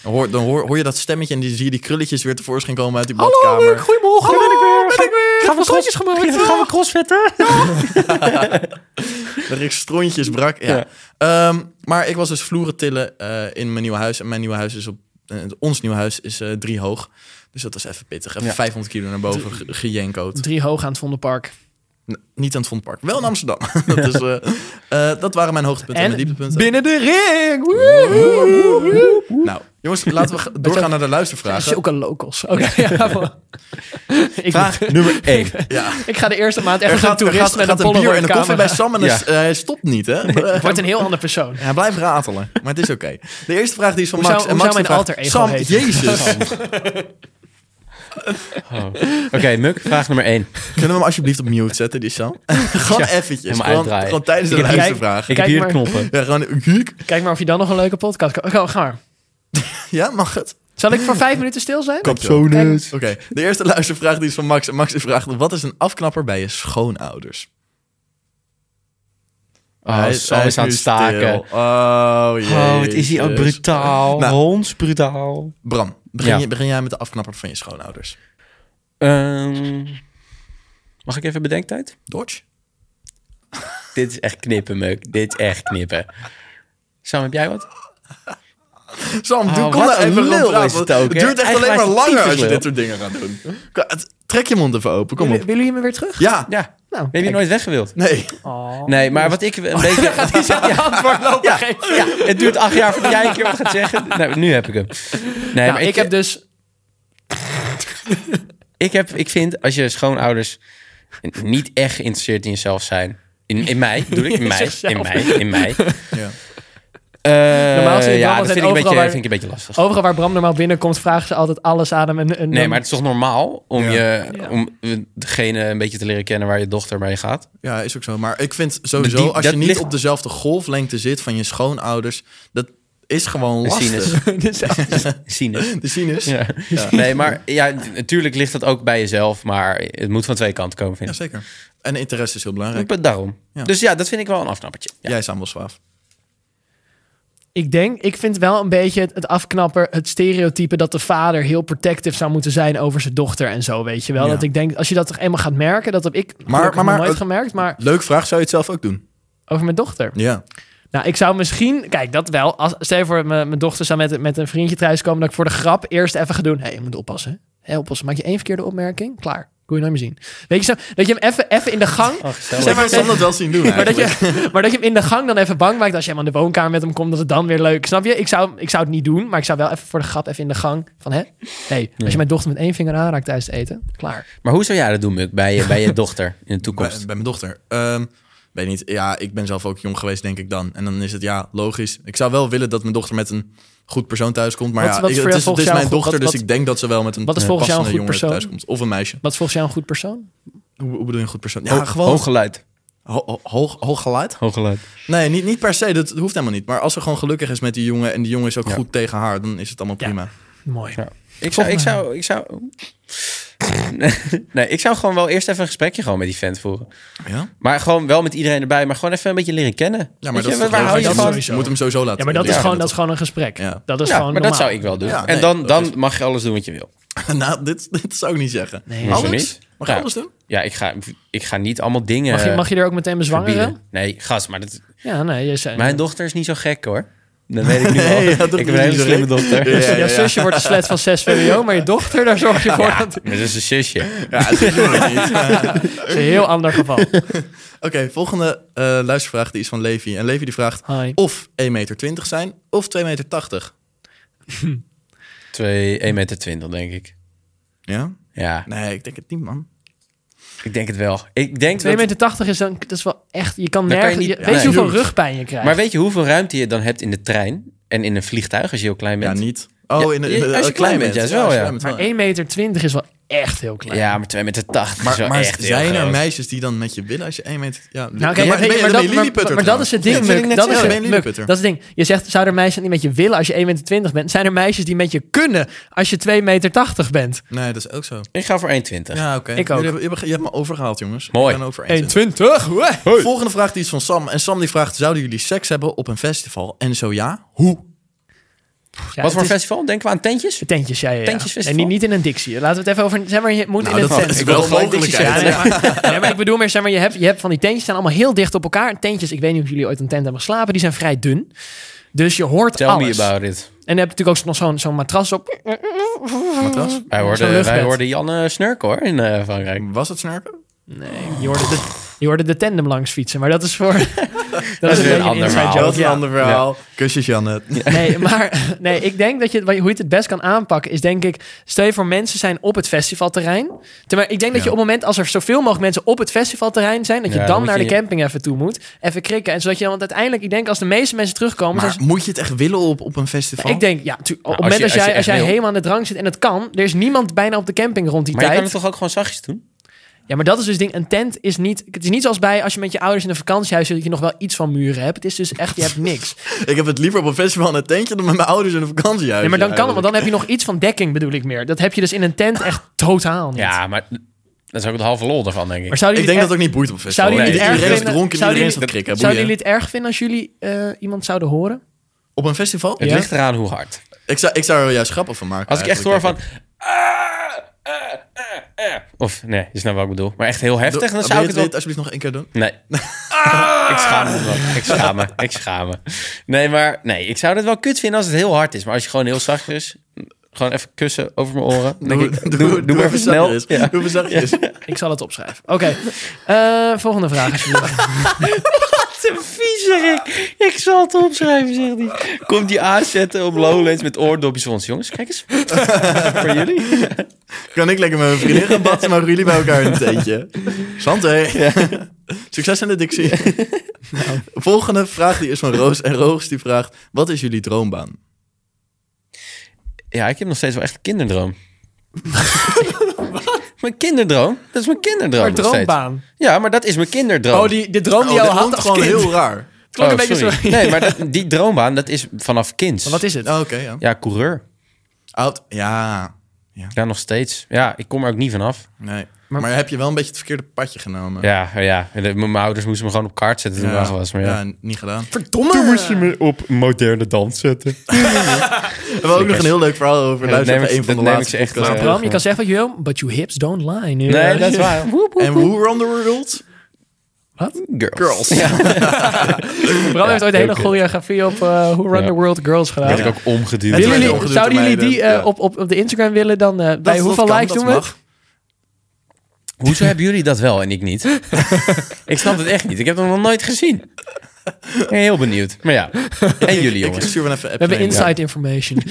Speaker 1: Dan, hoor, dan hoor, hoor je dat stemmetje en die, zie je die krulletjes weer tevoorschijn komen uit die badkamer.
Speaker 3: goedemorgen. Hallo, ben ik weer. Ben ik weer. Gaan we groetjes gemaakt?
Speaker 2: Gaan we crossfitten?
Speaker 1: Dat ik strontjes brak. Ja. Ehm, maar ik was dus vloeren tillen eh, in mijn nieuwe huis. En mijn nieuwe huis is op... eh, ons nieuwe huis is eh, drie hoog. Dus dat was even pittig. Even
Speaker 2: Ja.
Speaker 1: 500 kilo naar boven ge- gejenkoot.
Speaker 3: Drie hoog aan het Vondelpark.
Speaker 1: N- niet aan het Vondpark. Wel in Amsterdam. [laughs] dat, is, eh, eh, dat waren mijn hoogtepunten en,
Speaker 3: En
Speaker 1: mijn dieptepunten.
Speaker 3: binnen de ring. Woe, woe, woe, woe.
Speaker 1: Nou, jongens, laten we
Speaker 3: [laughs]
Speaker 1: g- doorgaan naar de luistervragen.
Speaker 3: Zulke locals. Oké, [laughs]
Speaker 1: [laughs]
Speaker 3: ja, man. ik,
Speaker 2: Vraag [laughs] nummer 1.
Speaker 1: Ja.
Speaker 3: ik ga de eerste maand echt
Speaker 1: Er
Speaker 3: als een
Speaker 1: gaat, er
Speaker 3: toerist
Speaker 1: gaat, er
Speaker 3: met
Speaker 1: gaat
Speaker 3: een
Speaker 1: een bier en een
Speaker 3: Polaroid
Speaker 1: koffie bij
Speaker 3: camera.
Speaker 1: Sam en
Speaker 2: Ja.
Speaker 1: dus, eh, hij stopt niet, hè? Eh,
Speaker 3: Ik word een heel ander persoon.
Speaker 1: Hij blijft ratelen, maar het is oké. De eerste vraag die is van
Speaker 3: Hoe
Speaker 1: Max.
Speaker 3: zou-
Speaker 1: en
Speaker 3: hoe
Speaker 1: Max
Speaker 3: zou
Speaker 1: die
Speaker 3: mijn
Speaker 1: vraagt,
Speaker 3: alter ego
Speaker 1: Sam,
Speaker 3: heten?"
Speaker 1: jezus.
Speaker 2: Oh. Oké, Muk, vraag nummer 1.
Speaker 1: Kunnen we hem alsjeblieft op mute zetten, die Sam? [laughs] gewoon eventjes.
Speaker 2: helemaal
Speaker 1: Gewoon,
Speaker 2: uitdraaien.
Speaker 1: gewoon tijdens de
Speaker 2: Ik heb-
Speaker 1: luistervraag.
Speaker 2: Ik
Speaker 3: Kijk
Speaker 2: heb hier
Speaker 3: maar.
Speaker 2: de knoppen.
Speaker 1: Ja, gewoon... huuk.
Speaker 3: Kijk maar of je dan nog een leuke podcast kan. Go, ga maar.
Speaker 1: Ja, mag het?
Speaker 3: Zal ik voor vijf minuten stil zijn?
Speaker 1: Kapsonus. Oké, de eerste luistervraag die is van Max. En Max die vraagt, wat is een afknapper bij je schoonouders?
Speaker 2: Oh,
Speaker 1: Hij-
Speaker 2: Sam
Speaker 1: hij
Speaker 2: is aan het
Speaker 1: nu
Speaker 2: staken.
Speaker 1: stil. Oh, jezus.
Speaker 2: Oh, het is hier ook brutaal.
Speaker 1: Nou.
Speaker 2: Hons brutaal.
Speaker 1: Bram, begin,
Speaker 2: Ja.
Speaker 1: je, begin jij met de afknapper van je schoonouders?
Speaker 2: Ehm, mag ik even bedenktijd?
Speaker 1: Dodge?
Speaker 2: Dit is echt knippen, Muk. Dit is echt knippen. Sam, heb jij wat?
Speaker 1: Sam,
Speaker 2: Oh,
Speaker 1: doe, kom
Speaker 2: wat
Speaker 1: nou
Speaker 2: een
Speaker 1: even
Speaker 2: lul
Speaker 1: gaan praten,
Speaker 2: is het
Speaker 1: want Het,
Speaker 2: ook, hè?
Speaker 1: duurt echt alleen
Speaker 2: Eigenlijk
Speaker 1: maar langer als je
Speaker 2: tyfuslul.
Speaker 1: dit soort dingen gaat doen. Kom, het- Trek je mond even open, kom
Speaker 3: Willen
Speaker 1: op.
Speaker 3: willen jullie me weer terug?
Speaker 1: Ja,
Speaker 2: Ja.
Speaker 3: Nou,
Speaker 2: Heb je nooit weggewild?
Speaker 1: nee.
Speaker 3: Oh.
Speaker 2: Nee, maar wat
Speaker 1: [laughs]
Speaker 2: ik een beetje...
Speaker 3: Die zet je antwoord lopen
Speaker 2: Ja,
Speaker 3: geven. Nou,
Speaker 2: ja, het duurt acht jaar voordat jij een keer wat gaat zeggen. Nou, nu heb ik hem. Nee,
Speaker 3: Nou,
Speaker 2: maar
Speaker 3: ik heb dus...
Speaker 2: Ik, heb, ik vind, als je schoonouders niet echt geïnteresseerd in jezelf zijn... In, in mij, bedoel ik? In mij, in mij, in mij.
Speaker 1: Ja.
Speaker 2: Eh,
Speaker 3: Normaal zie je
Speaker 2: ja,
Speaker 3: Bram altijd
Speaker 2: dat vind ik, een beetje,
Speaker 3: overal waar-
Speaker 2: vind ik een beetje lastig.
Speaker 3: Overal waar Bram normaal binnenkomt, vragen ze altijd alles aan hem. En, en
Speaker 2: Nee,
Speaker 3: dan-
Speaker 2: maar het is toch normaal om,
Speaker 1: Ja.
Speaker 2: je,
Speaker 3: Ja.
Speaker 2: om eh, degene een beetje te leren kennen waar je dochter mee gaat?
Speaker 1: Ja, is ook zo. Maar ik vind sowieso,
Speaker 2: Die-
Speaker 1: als
Speaker 2: dat
Speaker 1: je niet
Speaker 2: ligt-
Speaker 1: op dezelfde golflengte zit van je schoonouders, dat is gewoon
Speaker 2: Een
Speaker 1: lastig.
Speaker 2: sinus.
Speaker 3: Dus-
Speaker 2: [laughs] Sinus.
Speaker 1: [laughs] De sinus. Ja.
Speaker 2: Ja. Nee, maar ja, natuurlijk ligt dat ook bij jezelf, maar het moet van twee kanten komen, vind ik.
Speaker 1: zeker. En interesse is heel belangrijk.
Speaker 2: Ik ben Daarom.
Speaker 1: Ja.
Speaker 2: Dus ja, dat vind ik wel een afknappertje. Ja.
Speaker 1: Jij is Samuel Swaaf.
Speaker 3: Ik denk, ik vind wel een beetje het, het afknapper, het stereotype dat de vader heel protective zou moeten zijn over zijn dochter en zo, weet je wel.
Speaker 1: Ja.
Speaker 3: Dat ik denk, als je dat toch eenmaal gaat merken, dat heb ik
Speaker 1: Maar-
Speaker 3: maar,
Speaker 1: maar- maar-
Speaker 3: nooit
Speaker 1: het-
Speaker 3: gemerkt, maar
Speaker 1: Leuk vraag, zou je het zelf ook doen?
Speaker 3: over mijn dochter.
Speaker 1: Ja.
Speaker 3: Nou, ik zou misschien, kijk, dat wel. Als, stel je voor, mijn, mijn dochter zou met, met een vriendje thuiskomen, dat ik voor de grap eerst even ga doen. Hé, hey, je moet oppassen. Hé, oppassen. Maak je één verkeerde opmerking, klaar. Kun je nooit meer zien. Weet je zo, dat je hem even, even in de gang...
Speaker 2: Oh, gezellig.
Speaker 1: Zeg maar, ik zal dat wel zien
Speaker 2: [laughs]
Speaker 1: doen.
Speaker 3: [laughs] Maar dat,
Speaker 1: eigenlijk.
Speaker 3: je, maar dat je hem in de gang dan even bang maakt als je hem aan de woonkamer met hem komt, dat het dan weer leuk. Snap je? Ik zou, ik zou het niet doen, maar ik zou wel even voor de grap even in de gang van hè? hey, als je mijn dochter met één vinger aanraakt tijdens het eten, klaar.
Speaker 2: Maar hoe zou jij dat doen, Muk, bij je,
Speaker 1: [laughs]
Speaker 2: bij je dochter in de
Speaker 1: bij,
Speaker 2: toekomst?
Speaker 1: bij mijn dochter. Ehm, weet niet, ja, ik ben zelf ook jong geweest, denk ik dan. En dan is het, ja, logisch. Ik zou wel willen dat mijn dochter met een goed persoon thuis komt. Maar
Speaker 3: Wat-
Speaker 1: ja,
Speaker 3: wat is
Speaker 1: ik-
Speaker 3: voor
Speaker 1: het
Speaker 3: jou
Speaker 1: is, het is
Speaker 3: volgens jou
Speaker 1: mijn
Speaker 3: een goed-
Speaker 1: dochter,
Speaker 3: wat-
Speaker 1: dus
Speaker 3: wat-
Speaker 1: ik denk dat ze wel met een
Speaker 3: wat is
Speaker 1: eh,
Speaker 3: volgens jou een
Speaker 1: passende
Speaker 3: goed
Speaker 1: jongen
Speaker 3: persoon?
Speaker 1: thuis komt. Of een meisje.
Speaker 3: Wat is volgens jou een goed persoon?
Speaker 1: Hoe, hoe bedoel je een goed persoon?
Speaker 2: Ho-
Speaker 1: Ja, gewoon
Speaker 2: Hoog geluid.
Speaker 1: ho- ho- hoog, hoog geluid.
Speaker 2: Hoog geluid.
Speaker 1: Nee, niet, niet per se, dat hoeft helemaal niet. Maar als ze gewoon gelukkig is met die jongen en die jongen is ook
Speaker 2: Ja.
Speaker 1: goed tegen haar, dan is het allemaal
Speaker 3: Ja.
Speaker 1: prima.
Speaker 3: Mooi.
Speaker 2: Ik zou, ik zou, ik zou... [laughs] nee, ik zou gewoon wel eerst even een gesprekje gewoon met die vent voeren.
Speaker 1: Ja?
Speaker 2: Maar gewoon wel met iedereen erbij, maar gewoon even een beetje leren kennen.
Speaker 1: Ja, maar
Speaker 2: Weet
Speaker 1: dat is
Speaker 2: je,
Speaker 1: toch
Speaker 2: waar
Speaker 1: leuk?
Speaker 2: hou je
Speaker 1: Dat
Speaker 3: is
Speaker 2: van?
Speaker 3: sowieso.
Speaker 1: Je moet hem sowieso laten
Speaker 3: Ja, maar dat is
Speaker 1: leren
Speaker 3: gewoon,
Speaker 1: kennen,
Speaker 3: dat is gewoon een gesprek.
Speaker 1: Ja.
Speaker 3: Dat is
Speaker 2: ja,
Speaker 3: gewoon
Speaker 2: maar dat
Speaker 3: normaal.
Speaker 2: zou ik wel doen.
Speaker 1: Ja,
Speaker 2: en
Speaker 1: nee,
Speaker 2: dan,
Speaker 1: dat
Speaker 2: dan
Speaker 1: is-
Speaker 2: mag je alles doen wat je wil.
Speaker 1: toch? [laughs] Nou, dit, dit zou ik niet zeggen.
Speaker 3: Nee.
Speaker 2: Hoezo
Speaker 1: Alles?
Speaker 2: niet?
Speaker 1: Mag ik
Speaker 2: Ja.
Speaker 3: [laughs]
Speaker 1: alles doen?
Speaker 2: Ja, ik ga, ik ga niet allemaal dingen
Speaker 3: Mag je, mag je er ook meteen bezwangeren?
Speaker 2: eh, verbieden. Nee, gast, maar dat,
Speaker 3: Ja, nee. Je zei, [laughs]
Speaker 2: mijn dochter is niet zo gek hoor. Dat weet ik nu
Speaker 1: Nee, ja,
Speaker 2: al.
Speaker 1: dat
Speaker 2: ik heb
Speaker 1: is
Speaker 2: een hele
Speaker 1: niet zo
Speaker 2: slimme
Speaker 1: gek. [laughs]
Speaker 2: dochter.
Speaker 1: Ja, ja,
Speaker 3: Jouw
Speaker 1: ja.
Speaker 3: zusje wordt een slet van 6 VWO,
Speaker 2: [laughs]
Speaker 3: maar je dochter, daar zorg je voor.
Speaker 2: Ja,
Speaker 3: Dat
Speaker 2: maar dat is een zusje.
Speaker 1: Ja, dat doen we niet.
Speaker 3: [laughs] is een heel ander
Speaker 2: [laughs]
Speaker 3: geval.
Speaker 1: Oké, volgende eh, luistervraag die is van Levi. En Levi die vraagt
Speaker 3: Hi.
Speaker 1: of 1,20 meter zijn of 2,80 meter.
Speaker 2: 2, 1,20 meter, denk ik.
Speaker 1: Ja?
Speaker 2: Ja,
Speaker 1: Nee, ik denk het niet, man.
Speaker 2: ik denk het wel. Ik denk
Speaker 3: 2,80
Speaker 2: dat-
Speaker 3: meter is dan, dat is wel echt, je kan
Speaker 2: Dan kan je
Speaker 3: nergens,
Speaker 2: niet-
Speaker 3: je-
Speaker 2: ja,
Speaker 3: weet je
Speaker 2: nee.
Speaker 3: hoeveel rugpijn je krijgt?
Speaker 2: Maar weet je hoeveel ruimte je dan hebt in de trein en in een vliegtuig als je heel klein
Speaker 1: Ja,
Speaker 2: bent?
Speaker 1: niet. Oh, in, de- in de-
Speaker 2: als je
Speaker 1: eh,
Speaker 2: klein bent, juist wel,
Speaker 1: als je
Speaker 2: ja.
Speaker 1: klein bent
Speaker 3: maar 1,20 meter is wel echt heel klein.
Speaker 2: Ja, maar 2,80 meter is wel
Speaker 1: Maar, maar
Speaker 2: echt heel
Speaker 1: zijn er
Speaker 2: groot.
Speaker 1: meisjes die dan met je willen als je 1 meter... Ja,
Speaker 3: Nou,
Speaker 1: ben
Speaker 3: kijk,
Speaker 1: je-
Speaker 3: maar,
Speaker 1: ben je-
Speaker 3: maar,
Speaker 1: ben
Speaker 3: dat,
Speaker 1: je
Speaker 3: maar,
Speaker 1: Lilliputter
Speaker 3: maar dat is
Speaker 1: trouwens?
Speaker 3: het ding,
Speaker 1: Ja, dat wil
Speaker 3: Muk.
Speaker 1: ik net
Speaker 3: Dat is
Speaker 1: zeggen,
Speaker 3: het,
Speaker 1: ben je
Speaker 3: Muk,
Speaker 1: Lilliputter?
Speaker 3: dat is het ding. Je zegt, zouden er meisjes die met je willen als je 1,20 bent? Zijn er meisjes die met je kunnen als je 2,80 meter bent?
Speaker 1: Nee, dat is ook zo.
Speaker 2: Ik ga voor 1,20.
Speaker 1: Ja, oké.
Speaker 3: Ik ook.
Speaker 1: Jullie hebben- Je, hebt- je hebt me overgehaald, jongens.
Speaker 2: Mooi.
Speaker 1: Ik ben over 1,20.
Speaker 3: 1,20?
Speaker 1: Hey. Volgende vraag die is van Sam. En Sam die vraagt, zouden jullie seks hebben op een festival? En zo ja, hoe?
Speaker 2: Wat voor festival? Denken we aan tentjes?
Speaker 3: Tentjes, ja, ja, ja.
Speaker 2: Tentjesfestival?
Speaker 3: Nee, niet, niet in een dictie. Laten we het even over... Zeg maar, je moet
Speaker 1: Nou,
Speaker 3: in een
Speaker 1: dat
Speaker 3: tent.
Speaker 1: is
Speaker 2: Ik
Speaker 1: wel
Speaker 2: wil
Speaker 1: een
Speaker 2: gelijk ditjes
Speaker 1: mogelijkheid.
Speaker 3: Ja, nee, maar, nee, maar ik bedoel meer, zeg maar, je hebt, je hebt van die tentjes staan allemaal heel dicht op elkaar. Tentjes, ik weet niet of jullie ooit een tent hebben geslapen, die zijn vrij dun. Dus je hoort
Speaker 2: Tell
Speaker 3: alles.
Speaker 2: me about it.
Speaker 3: En dan heb je natuurlijk ook nog zo'n zo'n matras op.
Speaker 1: Matras?
Speaker 2: Wij
Speaker 3: Zo'n
Speaker 2: hoorden,
Speaker 3: luchtbed.
Speaker 2: wij hoorden Jan eh, snurken hoor in eh, Frankrijk.
Speaker 1: Was het snurken?
Speaker 3: Nee, je hoorde de, je hoorde de tandem langs fietsen, maar dat is voor... [laughs] dat
Speaker 2: weer
Speaker 3: is een beetje
Speaker 2: een
Speaker 3: een
Speaker 2: ander
Speaker 3: inside
Speaker 2: verhaal.
Speaker 3: joke.
Speaker 1: Dat is
Speaker 2: Dat is een
Speaker 1: een
Speaker 2: ja. ander
Speaker 1: ander
Speaker 2: verhaal.
Speaker 1: verhaal. Kusjes, Janet.
Speaker 2: [laughs]
Speaker 3: Nee, maar nee, ik denk dat je, het- hoe je het het best kan aanpakken, is denk ik, stel je voor mensen zijn op het festivalterrein. Terwijl ik denk dat je
Speaker 1: Ja.
Speaker 3: op het moment als er zoveel mogelijk mensen op het festivalterrein zijn, dat je
Speaker 2: Ja, dan
Speaker 3: dan
Speaker 2: moet
Speaker 3: naar
Speaker 2: je-
Speaker 3: de camping even toe moet. Even krikken. En zodat je, want uiteindelijk, ik denk als de meeste mensen terugkomen,
Speaker 1: Maar
Speaker 2: dus-
Speaker 3: zijn ze-
Speaker 1: moet je het echt willen op, op een festival?
Speaker 3: ik denk, ja, tu- op
Speaker 2: Nou, als
Speaker 3: het moment als,
Speaker 2: je- als je
Speaker 3: jij, als
Speaker 2: echt
Speaker 3: jij
Speaker 2: wil-
Speaker 3: helemaal aan de drang zit en het kan, er is niemand bijna op de camping rond die
Speaker 2: Maar je
Speaker 3: tijd.
Speaker 2: kan het toch ook gewoon zachtjes doen?
Speaker 3: Ja, maar dat is dus het ding. Een tent is niet. Het is niet zoals bij als je met je ouders in een vakantiehuis zit dat je nog wel iets van muren hebt. Het is dus echt, je hebt niks.
Speaker 1: Ik heb het liever op een festival in een tentje dan met mijn ouders in een vakantiehuis.
Speaker 3: Nee, maar dan kan het,
Speaker 1: eigenlijk.
Speaker 3: want dan heb je nog iets van dekking, bedoel ik meer. Dat heb je dus in een tent echt totaal niet.
Speaker 2: Ja, maar dat is ook het halve lol daarvan, denk ik.
Speaker 3: Maar zouden
Speaker 1: Ik
Speaker 3: jullie
Speaker 1: denk
Speaker 3: het
Speaker 1: dat het ook niet boeit op een festival.
Speaker 3: Zouden jullie
Speaker 1: Nee,
Speaker 3: het
Speaker 1: iedereen
Speaker 3: erg
Speaker 1: is dronken,
Speaker 3: vinden-
Speaker 1: iedereen is aan het
Speaker 2: zouden
Speaker 1: krikken.
Speaker 3: erg- zouden
Speaker 1: Boeien.
Speaker 3: jullie het erg vinden als jullie eh, iemand zouden horen?
Speaker 1: Op een festival?
Speaker 2: het
Speaker 3: Ja.
Speaker 2: ligt eraan hoe hard.
Speaker 1: Ik, zou, ik zou er juist grappen van maken.
Speaker 2: Als ik echt hoor
Speaker 1: eigenlijk,
Speaker 2: van...
Speaker 1: denk
Speaker 2: "Ah, eh, eh, eh," Of nee, je snapt wat ik bedoel. Maar echt heel heftig,
Speaker 1: Doe-
Speaker 2: dan zou ik
Speaker 1: wil
Speaker 2: het
Speaker 1: je
Speaker 2: wel...
Speaker 1: dit alsjeblieft nog één keer doen?
Speaker 2: Nee. Ik schaam me wel. Ik schaam me. Ik schaam me. Nee, maar nee, ik zou het wel kut vinden als het heel hard is. Maar als je gewoon heel zacht is, gewoon even kussen over mijn oren. Dan Denk ik, doe, doe, maar even snel.
Speaker 1: zachtjes.
Speaker 2: Ja.
Speaker 1: Doe even zachtjes.
Speaker 3: Ik zal het opschrijven. Oké, Eh, volgende vraag. alsjeblieft.
Speaker 2: Wat een viezerik. Ik zal het opschrijven, zegt hij. Komt die aanzetten op Lowlands met oordopjes voor ons. Jongens, kijk eens. voor jullie.
Speaker 3: [laughs]
Speaker 1: Kan ik lekker met mijn vriendin gaan batsen, maar jullie bij elkaar in een tentje. Santé. [laughs] Succes in de dictie. Nou. Volgende vraag die is van Roos. En Roos die vraagt, wat is jullie droombaan?
Speaker 3: Oh,
Speaker 2: Ja, ik heb nog steeds wel echt een kinderdroom. Mijn kinderdroom? Dat is mijn kinderdroom.
Speaker 3: Maar
Speaker 2: nog steeds.
Speaker 3: droombaan.
Speaker 2: Ja, maar dat is mijn kinderdroom.
Speaker 3: Oh, die, de droom die
Speaker 1: Oh,
Speaker 3: jou
Speaker 1: dat
Speaker 3: had
Speaker 1: komt
Speaker 3: als
Speaker 1: gewoon
Speaker 3: kind.
Speaker 1: heel raar.
Speaker 3: Klonk een
Speaker 2: Oh,
Speaker 3: beetje
Speaker 2: sorry.
Speaker 3: zo.
Speaker 2: Nee, maar dat- die droombaan, dat is vanaf kind.
Speaker 3: Maar Wat is het?
Speaker 1: Oh, Oké, ja.
Speaker 2: Ja, coureur.
Speaker 1: Oud, ja.
Speaker 2: Ja, nog steeds. Ja, ik kom er ook niet vanaf.
Speaker 1: Nee. Maar, heb je wel een beetje het verkeerde padje genomen?
Speaker 2: Ja, ja. En de- Mijn ouders moesten me gewoon op kaart zetten toen ik acht was. Maar ja.
Speaker 1: Ja, niet gedaan.
Speaker 3: Verdomme.
Speaker 2: me op moderne dans zetten.
Speaker 1: We hebben ook nog een heel leuk verhaal over.
Speaker 2: dat
Speaker 1: Luister
Speaker 2: neem
Speaker 1: even
Speaker 2: ik-
Speaker 1: een van de
Speaker 2: dat neem ik
Speaker 1: laatste
Speaker 2: ze echt
Speaker 1: podcasts.
Speaker 2: wel.
Speaker 3: Bram, je kan zeggen wat je wil, but your hips don't lie. Nu,
Speaker 2: Nee,
Speaker 3: eh,
Speaker 2: dat is
Speaker 3: [laughs]
Speaker 2: waar. Woep, woep.
Speaker 1: En who run the world?
Speaker 2: Girls.
Speaker 1: Girls.
Speaker 2: Ja,
Speaker 3: Bram heeft ooit de hele
Speaker 2: heel kut.
Speaker 3: choreografie op eh, Who Run
Speaker 2: Ja.
Speaker 3: the World Girls
Speaker 2: werd
Speaker 3: gedaan.
Speaker 2: ik ook omgeduwd.
Speaker 1: Het
Speaker 3: Willen
Speaker 1: werd
Speaker 3: jullie-
Speaker 1: ongedoe
Speaker 3: zouden
Speaker 1: te
Speaker 3: jullie die
Speaker 1: mijden.
Speaker 3: eh,
Speaker 1: Ja.
Speaker 3: op, op, op de Instagram willen? Dan, eh, bij
Speaker 1: Dat-
Speaker 3: hoeveel
Speaker 1: dat kan,
Speaker 3: likes
Speaker 1: dat
Speaker 3: doen we het?
Speaker 1: mag.
Speaker 2: Hoezo hebben jullie dat wel en ik niet? ik snap het echt niet. Ik heb het nog nooit gezien. Ik ben heel benieuwd. Maar ja. En jullie
Speaker 1: Ik
Speaker 2: jongens.
Speaker 1: stuur wel even een
Speaker 3: We hebben
Speaker 1: appje
Speaker 3: inside information.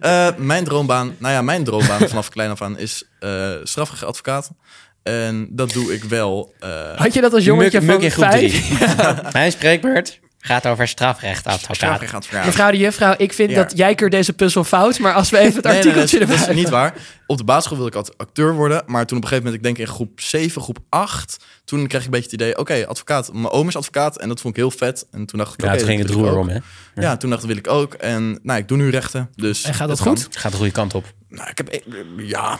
Speaker 1: Eh, mijn droombaan, nou ja, mijn droombaan vanaf [laughs] klein af aan is eh strafrechtadvocaat. advocaat. En dat doe ik wel. eh,
Speaker 3: Had je dat als jongetje
Speaker 2: Muk- Muk
Speaker 3: van
Speaker 2: in groep
Speaker 3: vijf?
Speaker 2: drie. Mijn spreekbeurt gaat over strafrecht, advocaat.
Speaker 1: strafrechtadvocaat.
Speaker 3: Mevrouw de juffrouw, ik vind
Speaker 1: Ja.
Speaker 3: dat jij keurt deze puzzel fout, maar als we even het
Speaker 1: Nee, nee,
Speaker 3: artikeltje
Speaker 1: dat, is, dat is
Speaker 3: erbij...
Speaker 1: niet waar. Op de basisschool wilde ik altijd acteur worden. Maar toen op een gegeven moment, ik denk in groep 7, groep 8... toen kreeg ik een beetje het idee, oké, advocaat. Mijn oom is advocaat en dat vond ik heel vet. En toen dacht ik,
Speaker 2: Ja,
Speaker 1: oké,
Speaker 2: het ging
Speaker 1: dat
Speaker 2: het
Speaker 1: wil ik
Speaker 2: roer
Speaker 1: ook.
Speaker 2: om, hè?
Speaker 1: Ja, toen dacht ik, dat wil ik ook. En nou, ik doe nu rechten. Dus
Speaker 3: En gaat dat
Speaker 1: dat
Speaker 3: goed?
Speaker 2: Gaat de goede kant op.
Speaker 1: kan. Nou, ik heb... e- Ja,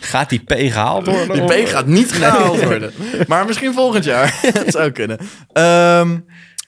Speaker 2: Gaat die P gehaald worden?
Speaker 1: Die B gaat niet gehaald worden. Maar misschien volgend jaar. [laughs] Het zou kunnen. Ehm,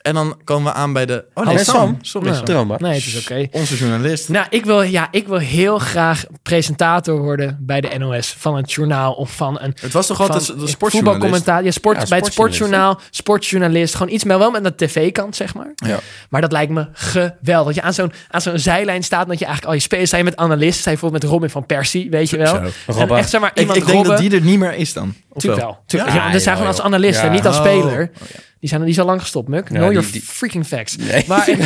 Speaker 1: en dan komen we aan bij de... Oh
Speaker 2: Hallo, Sam.
Speaker 1: Sorry,
Speaker 2: Nou.
Speaker 1: Sam.
Speaker 2: Droombaar.
Speaker 3: Nee, het is oké.
Speaker 1: Onze journalist.
Speaker 3: Nou, ik wil, ja, ik wil heel graag presentator worden bij de NOS van het journaal of van een
Speaker 1: Het was toch
Speaker 3: van
Speaker 1: altijd de sportjournalist?
Speaker 3: voetbalcommentaar. Ja, sport,
Speaker 2: Ja,
Speaker 3: bij het
Speaker 2: sportjournalist,
Speaker 3: sportjournaal, sportjournalist. Gewoon iets, maar wel met de tv-kant, zeg maar.
Speaker 1: Ja.
Speaker 3: Maar dat lijkt me geweldig. Dat je aan zo'n, aan zo'n zijlijn staat en dat je eigenlijk al je spelers zijn met analisten. Zijn bijvoorbeeld met Robin van Persie, weet je wel.
Speaker 1: Zo.
Speaker 3: En
Speaker 2: Robben.
Speaker 3: echt, zeg maar,
Speaker 1: Ik,
Speaker 3: iemand
Speaker 1: ik denk dat
Speaker 3: Robben-
Speaker 1: die er niet meer is dan. Of
Speaker 3: Tuurlijk wel. Tuurlijk.
Speaker 2: Ja,
Speaker 3: Ja, dat zijn
Speaker 2: jawel,
Speaker 3: gewoon als
Speaker 2: joh.
Speaker 3: analisten,
Speaker 2: Ja.
Speaker 3: niet als
Speaker 1: Oh.
Speaker 3: speler.
Speaker 1: Oh, ja.
Speaker 3: Die zijn die is al lang gestopt, Muk. know
Speaker 2: die-
Speaker 3: your
Speaker 2: die-
Speaker 3: freaking facts.
Speaker 2: Nee.
Speaker 3: [laughs] Maar ik-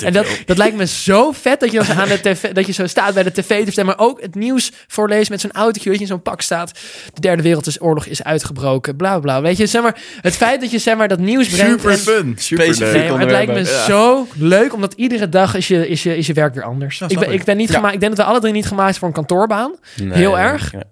Speaker 3: en dat, dat lijkt me zo vet dat je, dan aan de TV, [laughs] dat je zo staat bij de tv te stemmen. Maar ook het nieuws voorleest met zo'n autootje dat je in zo'n pak staat. De derde wereldoorlog is uitgebroken. Bla bla, bla. Weet je, zeg maar, het feit dat je zeg maar, dat nieuws brengt.
Speaker 1: Super
Speaker 3: en-
Speaker 1: fun. Super
Speaker 2: Specifiek.
Speaker 1: leuk.
Speaker 3: Nee, maar het lijkt me
Speaker 2: onderwerpen.
Speaker 1: Ja.
Speaker 3: zo leuk, omdat iedere dag is je, is je, is je werk weer anders.
Speaker 1: Ja,
Speaker 3: ik, ben,
Speaker 1: snap ik.
Speaker 3: ik, ben niet
Speaker 2: Ja.
Speaker 3: gemaakt, ik denk dat we alle drie niet gemaakt zijn voor een kantoorbaan.
Speaker 2: Nee,
Speaker 3: Heel
Speaker 2: nee,
Speaker 3: erg.
Speaker 2: nee.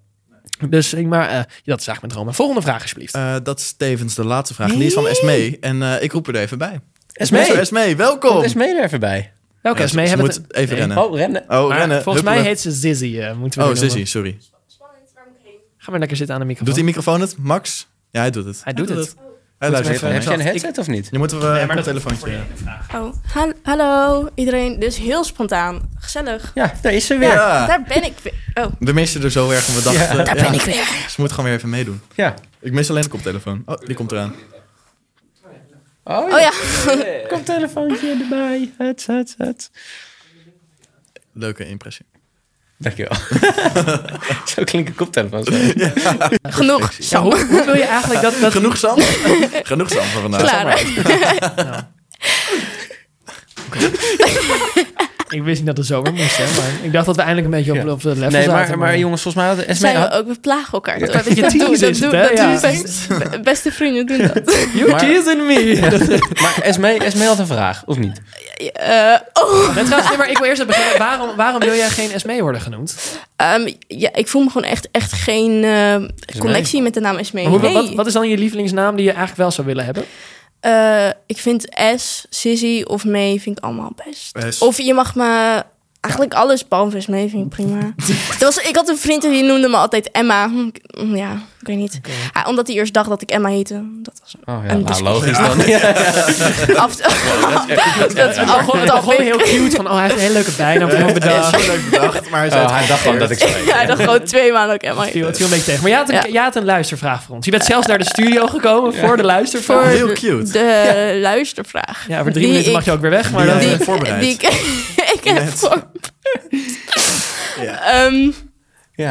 Speaker 3: Dus eh, maar, eh, dat is eigenlijk mijn droom. En Volgende vraag, alsjeblieft.
Speaker 1: Eh, dat is tevens de laatste vraag. En die is van Esmee. En eh, ik roep er even bij.
Speaker 2: Esmee.
Speaker 1: Zo, Esmee, welkom.
Speaker 2: Komt Esmee er even bij?
Speaker 3: Welke
Speaker 1: Ja,
Speaker 3: is mee?
Speaker 1: ze
Speaker 3: Hebben
Speaker 1: moet
Speaker 3: we het-
Speaker 1: even
Speaker 3: Nee.
Speaker 1: rennen.
Speaker 2: Oh, rennen.
Speaker 1: Oh,
Speaker 3: Maar
Speaker 1: rennen.
Speaker 3: volgens mij
Speaker 1: huppelen.
Speaker 3: heet ze Zizzy, eh, moeten we
Speaker 1: Oh,
Speaker 3: haar noemen.
Speaker 1: Sissy, sorry.
Speaker 5: Spannend, waarom ik heen?
Speaker 3: Ga maar lekker zitten aan de microfoon.
Speaker 1: Doet die microfoon het, Max? Ja, hij doet het.
Speaker 3: Hij doet het.
Speaker 1: Hij luistert
Speaker 3: even-
Speaker 1: even.
Speaker 2: Heb jij een
Speaker 1: mee.
Speaker 2: headset of niet?
Speaker 1: Nu moeten we op een telefoontje.
Speaker 5: Oh, hal- hallo iedereen. Dus heel spontaan. Gezellig.
Speaker 2: Ja, daar is ze weer. Ja.
Speaker 3: Ah.
Speaker 1: Ja.
Speaker 5: Daar ben ik weer.
Speaker 3: [laughs]
Speaker 5: Oh,
Speaker 1: We misten er zo erg en we dachten...
Speaker 2: Ja.
Speaker 1: Daar
Speaker 5: ben ik weer.
Speaker 1: Ze moet gewoon weer even meedoen. Ik mis alleen de koptelefoon. Oh, die komt eraan.
Speaker 2: Oh,
Speaker 5: Oh ja.
Speaker 2: Komt telefoontje erbij. Het, het, het.
Speaker 1: Leuke impressie.
Speaker 2: [laughs] Dankjewel. Zo klinken koptelefoons. Ja.
Speaker 5: Genoeg.
Speaker 3: Ja, hoe, hoe wil je eigenlijk dat... dat
Speaker 1: Genoeg Sam? [laughs] Genoeg Sam van vandaag.
Speaker 5: Klaar. hè?
Speaker 3: ik wist niet dat het zo weer moest, hè, maar ik dacht dat we eindelijk een beetje op,
Speaker 2: Ja.
Speaker 3: op de level
Speaker 2: Nee,
Speaker 3: zaten.
Speaker 2: maar, maar jongens, volgens mij hadden Esmee...
Speaker 5: Zijn we
Speaker 2: had-
Speaker 5: ook, we plagen elkaar. toch?
Speaker 3: een beetje
Speaker 5: Dat doen-
Speaker 3: tease
Speaker 5: dat
Speaker 3: is
Speaker 5: doen-
Speaker 3: het, hè?
Speaker 5: dat doen
Speaker 3: Ja.
Speaker 5: best- be- Beste vrienden doen
Speaker 3: [laughs]
Speaker 5: dat.
Speaker 3: You're
Speaker 2: maar-
Speaker 3: teasing [laughs] me!
Speaker 2: Maar Esmee, Esmee had een vraag, of niet?
Speaker 5: Eh, oh.
Speaker 3: Maar trouwens, nee, maar ik wil eerst even beginnen. Waarom, waarom wil jij geen SME worden genoemd?
Speaker 5: Ehm, ja, ik voel me gewoon echt, echt geen eh connectie met de naam Esmee.
Speaker 3: Maar hoe-
Speaker 5: Nee.
Speaker 3: wat, wat is dan je lievelingsnaam die je eigenlijk wel zou willen hebben?
Speaker 5: Eh, ik vind S, Sissy of May vind ik allemaal best.
Speaker 1: S.
Speaker 5: Of je mag me... Eigenlijk alles behalve is mee, vind ik prima. Er was, ik had een vriend en die noemde me altijd Emma. Hm, ik- hm, Ja, ik weet niet. Ah, omdat hij eerst dacht dat ik Emma heette. Dat was
Speaker 2: Oh ja,
Speaker 5: Een
Speaker 2: nou,
Speaker 5: discussie.
Speaker 2: logisch dan.
Speaker 5: [laughs]
Speaker 2: Ja.
Speaker 5: af. [laughs] dat is
Speaker 3: Het al gewoon, het al gewoon heel cute van, oh, hij heeft een hele leuke bijnaam. Heel bedankt.
Speaker 1: Zo leuk bedacht, maar hij zei
Speaker 2: Oh, hij
Speaker 1: het
Speaker 2: dacht gewoon dat ik zo heet.
Speaker 5: Ja, hij dacht gewoon twee maanden ook Emma
Speaker 3: Het viel,
Speaker 5: heette.
Speaker 3: het viel een beetje tegen. Maar jij had, een,
Speaker 5: Ja.
Speaker 3: jij had een luistervraag voor ons. Je bent zelfs naar de studio gekomen voor de luistervraag.
Speaker 5: Voor
Speaker 1: Heel
Speaker 5: de-
Speaker 1: cute.
Speaker 5: De luistervraag.
Speaker 3: Ja, voor drie
Speaker 5: Die
Speaker 3: minuten mag
Speaker 5: ik-
Speaker 3: je ook weer weg. Maar
Speaker 1: Die
Speaker 3: dan,
Speaker 1: jij
Speaker 5: die
Speaker 1: hebt voorbereid.
Speaker 5: Die ik, [laughs] ik heb
Speaker 1: Net.
Speaker 5: voor...
Speaker 1: Ja.
Speaker 5: Ehm,
Speaker 2: Ja.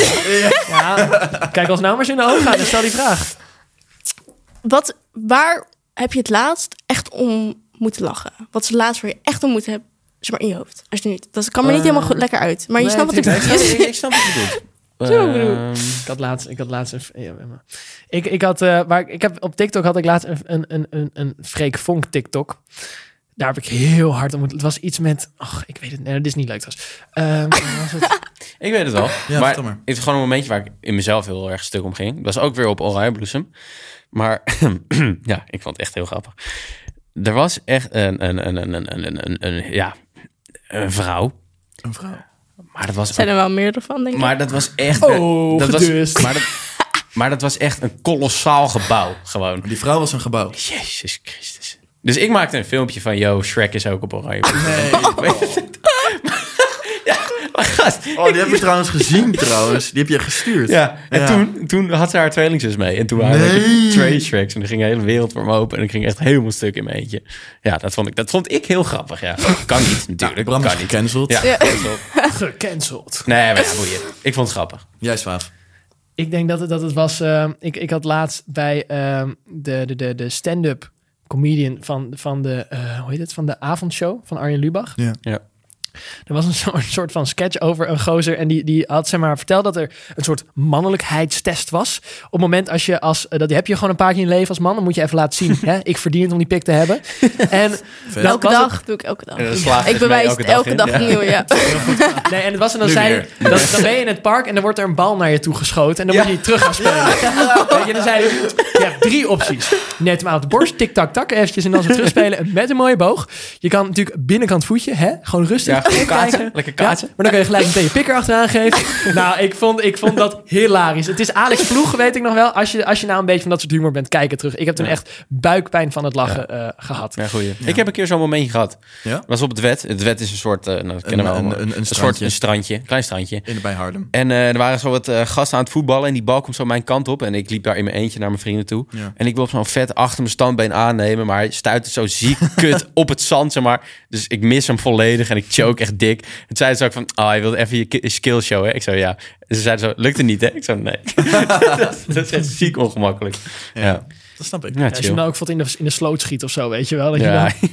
Speaker 3: ja, kijk als nou maar eens in de ogen gaan en stel die vraag.
Speaker 5: wat, waar heb je het laatst echt om moeten lachen? Wat is het laatst waar je echt om moet hebben? Zeg maar in je hoofd. Als je niet, dat kan me niet helemaal goed, lekker uit. Maar je snapt wat ik
Speaker 2: Nee, ik,
Speaker 5: bedoel.
Speaker 2: [laughs] snap, ik, ik snap wat je bedoelt.
Speaker 3: Zo, bedoel-
Speaker 2: Ehm,
Speaker 3: Ik had laatst, ik had laatst een. ja, maar- Ik, ik had, eh waar, ik- ik heb, op TikTok had ik laatst een, een, een, een, een Freek Vonk TikTok. Daar heb ik heel hard om moeten. Het was iets met. Ach, ik weet het. Nee, dit is niet leuk. trouwens. Ehm, wat was het?
Speaker 2: ik weet het wel.
Speaker 1: Ja,
Speaker 2: maar
Speaker 1: vertel maar.
Speaker 2: het is gewoon een momentje waar ik in mezelf heel erg stuk om ging. Dat was ook weer op Oranje Bloesem. Maar [clears throat] ja, ik vond het echt heel grappig. Er was echt een, een, een, een, een, een, een, een- ja, een vrouw.
Speaker 1: Een vrouw.
Speaker 2: Maar dat was
Speaker 5: zijn [laughs] er wel meerdere van, denk ik.
Speaker 2: Maar dat was echt.
Speaker 3: Oh,
Speaker 2: dat was,
Speaker 3: gedust.
Speaker 2: maar, dat, maar dat was echt een kolossaal gebouw. Gewoon.
Speaker 1: Die vrouw was een gebouw.
Speaker 2: Jezus Christus. Dus ik maakte een filmpje van: Yo, Shrek is ook op
Speaker 1: [laughs]
Speaker 2: Oranje. [laughs]
Speaker 1: Nee.
Speaker 2: Oh. Maar gast,
Speaker 1: Oh, die heb je trouwens gezien trouwens. Die heb je gestuurd.
Speaker 2: Ja, en
Speaker 1: Ja. Nou,
Speaker 2: Toen, toen had ze haar tweelingzus mee. En toen waren
Speaker 1: Nee.
Speaker 2: er twee Shreks. En er ging de hele wereld voor me open. En ik ging echt helemaal stuk in mijn eentje. Ja, dat vond ik, dat vond ik heel grappig. Ja. Kan niet, natuurlijk.
Speaker 1: Bram is
Speaker 2: kan niet.
Speaker 1: gecanceld.
Speaker 2: Ja, dat is wel-
Speaker 5: [laughs]
Speaker 3: Gecanceld.
Speaker 2: Nee, maar ja, boeien. Ik vond het grappig.
Speaker 1: Jij, Swaaf.
Speaker 3: Ik denk dat het, dat het was. ehm, ik, ik had laatst bij ehm, de, de, de, de stand-up comedian van, van, de, eh, hoe heet het, van de avondshow van Arjen Lubach.
Speaker 1: Ja.
Speaker 2: Ja.
Speaker 3: Er was een [laughs] soort, een soort van sketch over een gozer. En die, die had zeg maar verteld dat er een soort mannelijkheidstest was. Op het moment als je als. eh, Dat heb je gewoon een paar keer in je leven als man. Dan moet je even laten zien. hè, ik verdien het om die pik te hebben. En
Speaker 5: elke
Speaker 3: was
Speaker 5: dag doe ik elke dag.
Speaker 2: En dan slaag
Speaker 5: Ik
Speaker 2: dus mij
Speaker 5: bewijs het elke
Speaker 2: in.
Speaker 5: dag
Speaker 2: Ja.
Speaker 5: opnieuw, ja.
Speaker 3: Nee, en het was en dan
Speaker 1: Nu
Speaker 3: zei
Speaker 1: weer.
Speaker 3: dan, dan ben je in het park en dan wordt er een bal naar je toe geschoten en dan
Speaker 2: Ja.
Speaker 3: moet je die terug gaan spelen. Weet je, dan zei hij, je hebt drie opties. Net hem aan de borst, tik tak tak, eventjes en dan ze terugspelen met een mooie boog. Je kan natuurlijk binnenkant voetje, hè, gewoon rustig.
Speaker 2: Ja, gewoon kaatsen.
Speaker 3: kijken.
Speaker 2: Lekker kaatsen.
Speaker 3: Ja, maar dan kun je gelijk meteen je pikker achteraan geven. nou, ik vond, ik vond dat hilarisch. Het is Alex Ploeg, weet ik nog wel. Als je, als je nou een beetje van dat soort humor bent, kijk het terug. Ik heb toen echt buikpijn van het lachen eh, gehad.
Speaker 2: Ja, goeie. Ik heb een keer zo'n momentje gehad.
Speaker 1: Ja?
Speaker 2: was op het wet. Het wet is een soort, eh, nou, dat kennen we
Speaker 1: Een-
Speaker 2: allemaal.
Speaker 1: een- een- een
Speaker 2: soort
Speaker 1: strandje.
Speaker 2: een strandje, een klein strandje.
Speaker 1: In, bij Harlem.
Speaker 2: En eh, er waren zo wat eh, gasten aan het voetballen en die bal komt zo mijn kant op. En ik liep daar in mijn eentje naar mijn vrienden toe.
Speaker 1: Ja.
Speaker 2: En ik wil zo'n vet achter mijn standbeen aannemen, maar hij stuit het zo ziek [laughs] kut op het zand, zeg maar. Dus ik mis hem volledig en ik choke echt dik. En zeiden ze ook van, ah, je wilde even je ki- skill show, hè? Ik zo, ja. En ze zeiden zo, lukt het niet, hè? Ik zo, nee. [laughs] dat, dat is echt ziek ongemakkelijk.
Speaker 1: Ja.
Speaker 2: Ja,
Speaker 1: Dat snap ik.
Speaker 2: ja.
Speaker 3: Ja, als je hem
Speaker 2: chill.
Speaker 3: nou ook valt in de, in de sloot schiet of zo, weet je wel. Dat je
Speaker 2: Ja,
Speaker 3: dan,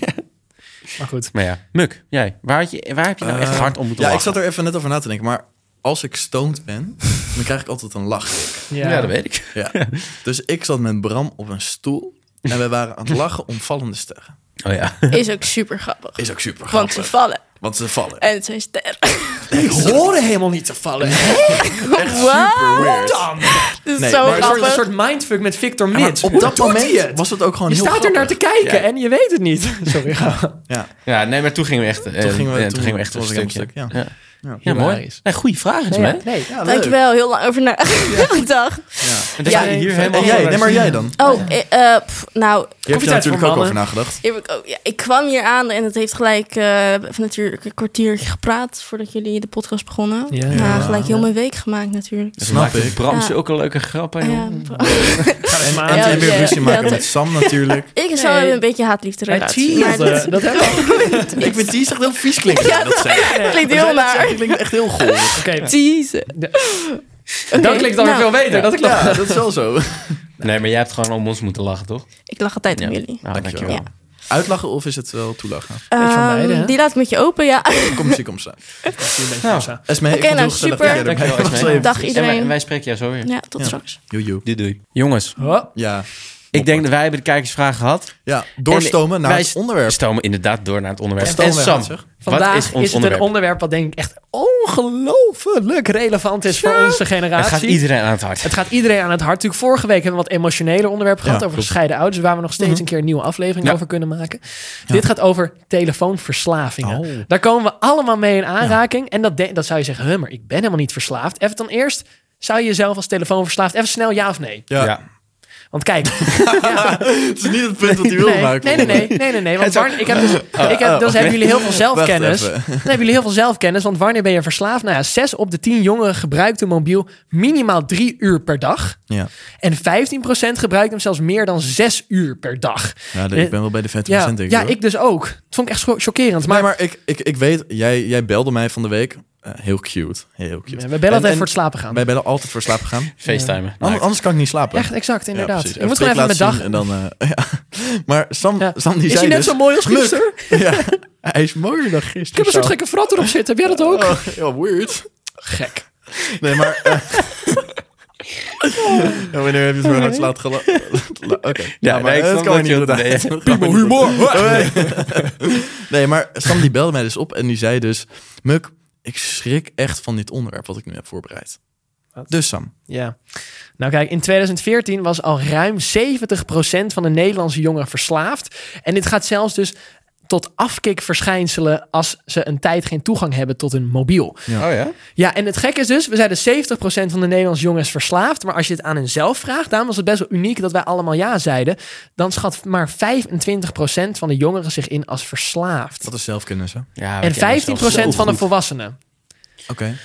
Speaker 3: maar goed.
Speaker 2: [laughs] maar ja. Muk, jij, waar, had je, waar heb je nou echt
Speaker 1: Eh,
Speaker 2: hard om moeten
Speaker 1: Ja, ik
Speaker 2: lachen?
Speaker 1: zat er even net over na te denken. Maar als ik stoned ben, dan krijg ik altijd een lach.
Speaker 2: Ja, dat weet
Speaker 1: [laughs]
Speaker 2: ik.
Speaker 1: Ja. Dus ik zat met Bram op een stoel. En we waren aan het lachen om vallende sterren.
Speaker 2: Oh ja.
Speaker 5: Is ook super grappig.
Speaker 1: Is ook super
Speaker 5: Want ze
Speaker 1: grappig.
Speaker 5: vallen. Eh,
Speaker 1: Want ze vallen.
Speaker 5: En het zijn sterren.
Speaker 3: Ik hoorde helemaal niet te vallen.
Speaker 1: Echt super weird.
Speaker 5: Dat is
Speaker 1: Nee,
Speaker 5: zo
Speaker 1: maar het
Speaker 3: Een soort, een
Speaker 5: grappig.
Speaker 3: soort mindfuck met Victor
Speaker 1: Ja, maar
Speaker 3: Mits.
Speaker 1: op
Speaker 3: Hoe
Speaker 1: dat
Speaker 3: doet hij
Speaker 1: moment
Speaker 3: het?
Speaker 1: was het ook gewoon
Speaker 3: Je
Speaker 1: heel
Speaker 3: staat er naar te kijken
Speaker 2: Ja.
Speaker 3: en je weet het niet. Sorry.
Speaker 1: Ja.
Speaker 2: Ja, nee, maar toen gingen we echt, eh,
Speaker 1: Toen gingen we-
Speaker 2: eh, toen
Speaker 1: toen-
Speaker 2: gingen we echt
Speaker 1: toen
Speaker 2: een
Speaker 1: was ik
Speaker 2: stukje.
Speaker 1: helemaal stuk,
Speaker 2: ja.
Speaker 1: Ja.
Speaker 2: Ja, mooi.
Speaker 3: Hilarisch.
Speaker 2: Nee, goede vraag is,
Speaker 3: Nee,
Speaker 2: man.
Speaker 3: nee.
Speaker 1: Ja, leuk.
Speaker 5: Dankjewel, heel lang over na [laughs] gedacht.
Speaker 1: Ja.
Speaker 2: En dat jij
Speaker 5: Ja.
Speaker 2: hier helemaal
Speaker 1: En jij, nee, maar jij dan?
Speaker 5: Oh, eh, eh, pff, nou,
Speaker 1: Je hebt
Speaker 3: Koffietijd
Speaker 1: er natuurlijk
Speaker 3: voor
Speaker 1: ook over
Speaker 3: mannen.
Speaker 1: nagedacht.
Speaker 5: hier heb ik, ook- ja, ik kwam hier aan en het heeft gelijk eh, even natuurlijk een kwartiertje gepraat voordat jullie de podcast begonnen.
Speaker 3: Ja.
Speaker 5: Ja,
Speaker 1: Ja.
Speaker 5: gelijk heel mijn week gemaakt natuurlijk.
Speaker 2: Dat
Speaker 1: Snap
Speaker 2: maakt
Speaker 1: ik.
Speaker 2: Bram
Speaker 5: Ja.
Speaker 2: zulke leuke grappen, joh.
Speaker 5: Ja,
Speaker 1: En,
Speaker 3: maar
Speaker 1: en,
Speaker 5: aan.
Speaker 1: en weer
Speaker 5: Ja,
Speaker 1: ruzie
Speaker 5: ja.
Speaker 1: maken
Speaker 5: Ja.
Speaker 1: met Sam natuurlijk.
Speaker 5: ik en Sam
Speaker 3: Nee.
Speaker 5: hebben een beetje haatliefde relatie. maar dit- [laughs]
Speaker 3: dat hebben we.
Speaker 1: Ik vind die echt heel vies klinken.
Speaker 5: Ja,
Speaker 1: dat zei
Speaker 5: dat klinkt heel naar.
Speaker 1: Dat klinkt echt heel golf.
Speaker 3: Oké,
Speaker 5: Teasen.
Speaker 3: dat klinkt dan weer
Speaker 5: nou.
Speaker 3: veel beter. Dat klopt.
Speaker 1: Ja, dat is wel zo.
Speaker 2: Nee, maar jij hebt gewoon om ons moeten lachen, toch?
Speaker 5: Ik lach altijd
Speaker 2: Ja.
Speaker 5: om jullie.
Speaker 2: Nou, dankjewel.
Speaker 5: Ja.
Speaker 1: Uitlachen of is het wel toelachen?
Speaker 3: Beetje van beide,
Speaker 5: Ehm,
Speaker 3: hè?
Speaker 5: die laat ik met je open, ja.
Speaker 1: Kom, zie, kom, sta.
Speaker 2: Nou,
Speaker 1: Esme, ik
Speaker 5: Oké,
Speaker 1: vond het
Speaker 5: nou,
Speaker 1: heel gezellig.
Speaker 5: super.
Speaker 1: Ja, dat-
Speaker 2: Dankjewel,
Speaker 1: dat
Speaker 2: Esme.
Speaker 5: [laughs]
Speaker 1: was even-
Speaker 5: Dag
Speaker 2: En wij,
Speaker 5: iedereen.
Speaker 2: wij spreken jou zo weer.
Speaker 5: Ja, tot
Speaker 1: Ja.
Speaker 5: straks.
Speaker 1: Joejoe.
Speaker 2: Doei, doei. Jongens,
Speaker 3: Oh,
Speaker 1: Ja,
Speaker 2: ik denk dat wij hebben de kijkersvraag gehad.
Speaker 1: ja, doorstomen
Speaker 2: En
Speaker 1: naar
Speaker 2: wij
Speaker 1: het onderwerp.
Speaker 2: Stomen inderdaad door naar het onderwerp.
Speaker 1: Stomen
Speaker 2: en
Speaker 1: weer
Speaker 2: Sam,
Speaker 1: aan, zeg.
Speaker 3: vandaag
Speaker 2: wat
Speaker 3: is,
Speaker 2: is ons
Speaker 3: het
Speaker 2: onderwerp?
Speaker 3: een onderwerp wat denk ik echt ongelooflijk relevant is voor onze
Speaker 2: het
Speaker 3: generatie.
Speaker 2: gaat iedereen aan het hart.
Speaker 3: Het gaat iedereen aan het hart. Natuurlijk, vorige week hebben we wat emotionele onderwerpen gehad over
Speaker 1: klopt. Mhm.
Speaker 3: gescheiden ouders, waar we nog steeds een keer een nieuwe aflevering
Speaker 2: Ja.
Speaker 3: over kunnen maken. Dit gaat over telefoonverslavingen.
Speaker 1: Oh.
Speaker 3: Daar komen we allemaal mee in aanraking. En dat, de- dat zou je zeggen, huh, maar ik ben helemaal niet verslaafd. Even dan eerst, zou je jezelf als telefoonverslaafd, even snel ja of nee?
Speaker 1: Ja.
Speaker 3: Want
Speaker 1: [laughs]
Speaker 3: kijk,
Speaker 1: Het is niet het punt dat hij wil
Speaker 3: nee, nee,
Speaker 1: maken.
Speaker 3: nee, nee, nee, nee,
Speaker 1: [laughs]
Speaker 3: nee, want wanneer- ik heb dus, ik heb, dus hebben jullie heel veel zelfkennis.
Speaker 1: Ah, Wacht
Speaker 3: Dan
Speaker 1: even.
Speaker 3: hebben jullie heel veel zelfkennis, want wanneer ben je verslaafd? Nou ja, zes op de tien jongeren gebruikt een mobiel minimaal drie uur per dag.
Speaker 1: Ja,
Speaker 3: En 15% gebruikt hem zelfs meer dan 6 uur per dag.
Speaker 1: ja
Speaker 3: Eh,
Speaker 1: ik ben wel bij de 50%
Speaker 3: Ja,
Speaker 1: denk ik.
Speaker 3: ja
Speaker 1: hoor.
Speaker 3: ik dus ook. Dat vond ik echt scho- chockerend. Maar,
Speaker 1: Maar, maar ik, ik, ik weet, jij, jij belde mij van de week. Eh, heel cute. Heel cute.
Speaker 3: we bellen altijd
Speaker 1: En- en
Speaker 3: voor het slapen gaan.
Speaker 1: Wij bellen altijd voor slaap gaan.
Speaker 2: FaceTimen.
Speaker 1: Anders, anders kan ik niet slapen.
Speaker 3: Echt, exact, inderdaad.
Speaker 1: precies.
Speaker 3: ik moet gewoon
Speaker 1: twee
Speaker 3: even mijn dag...
Speaker 1: laten zien En dan, eh, [laughs] ja. Maar Sam, [laughs]
Speaker 3: Ja.
Speaker 1: Sam die
Speaker 3: Is
Speaker 1: zei
Speaker 3: hij net
Speaker 1: dus,
Speaker 3: zo mooi als
Speaker 1: "Muk."
Speaker 3: gisteren?
Speaker 1: [laughs] ja, hij is mooier dan gisteren.
Speaker 3: Ik heb een soort
Speaker 1: Sam.
Speaker 3: gekke frat erop zitten. Heb jij dat ook?
Speaker 1: Oh, ja, weird.
Speaker 3: Gek.
Speaker 1: Nee, maar... eh, [laughs] ja, wanneer heb je het voor hard laat gelachen? [laughs] Oké.
Speaker 2: Ja, nee, ik snap dat je dat-
Speaker 1: uit.
Speaker 2: [laughs] nee.
Speaker 1: Prima humor! Nee. nee, maar Sam die belde mij dus op en die zei dus... Muk, ik schrik echt van dit onderwerp wat ik nu heb voorbereid.
Speaker 3: Wat?
Speaker 1: Dus Sam,
Speaker 3: Ja. Nou kijk, in 2014 was al ruim 70% van de Nederlandse jongeren verslaafd. En dit gaat zelfs dus tot afkikverschijnselen als ze een tijd geen toegang hebben tot hun mobiel.
Speaker 2: Oh ja?
Speaker 3: Ja, en het gekke is dus, we zeiden 70% van de Nederlandse jongens verslaafd. Maar als je het aan henzelf vraagt, daarom was het best wel uniek dat wij allemaal ja zeiden. Dan schat maar 25% van de jongeren zich in als verslaafd.
Speaker 1: wat is zelfkennis, hè?
Speaker 2: ja
Speaker 3: En 15% van de
Speaker 2: volwassenen.
Speaker 3: volwassenen.
Speaker 1: Oké,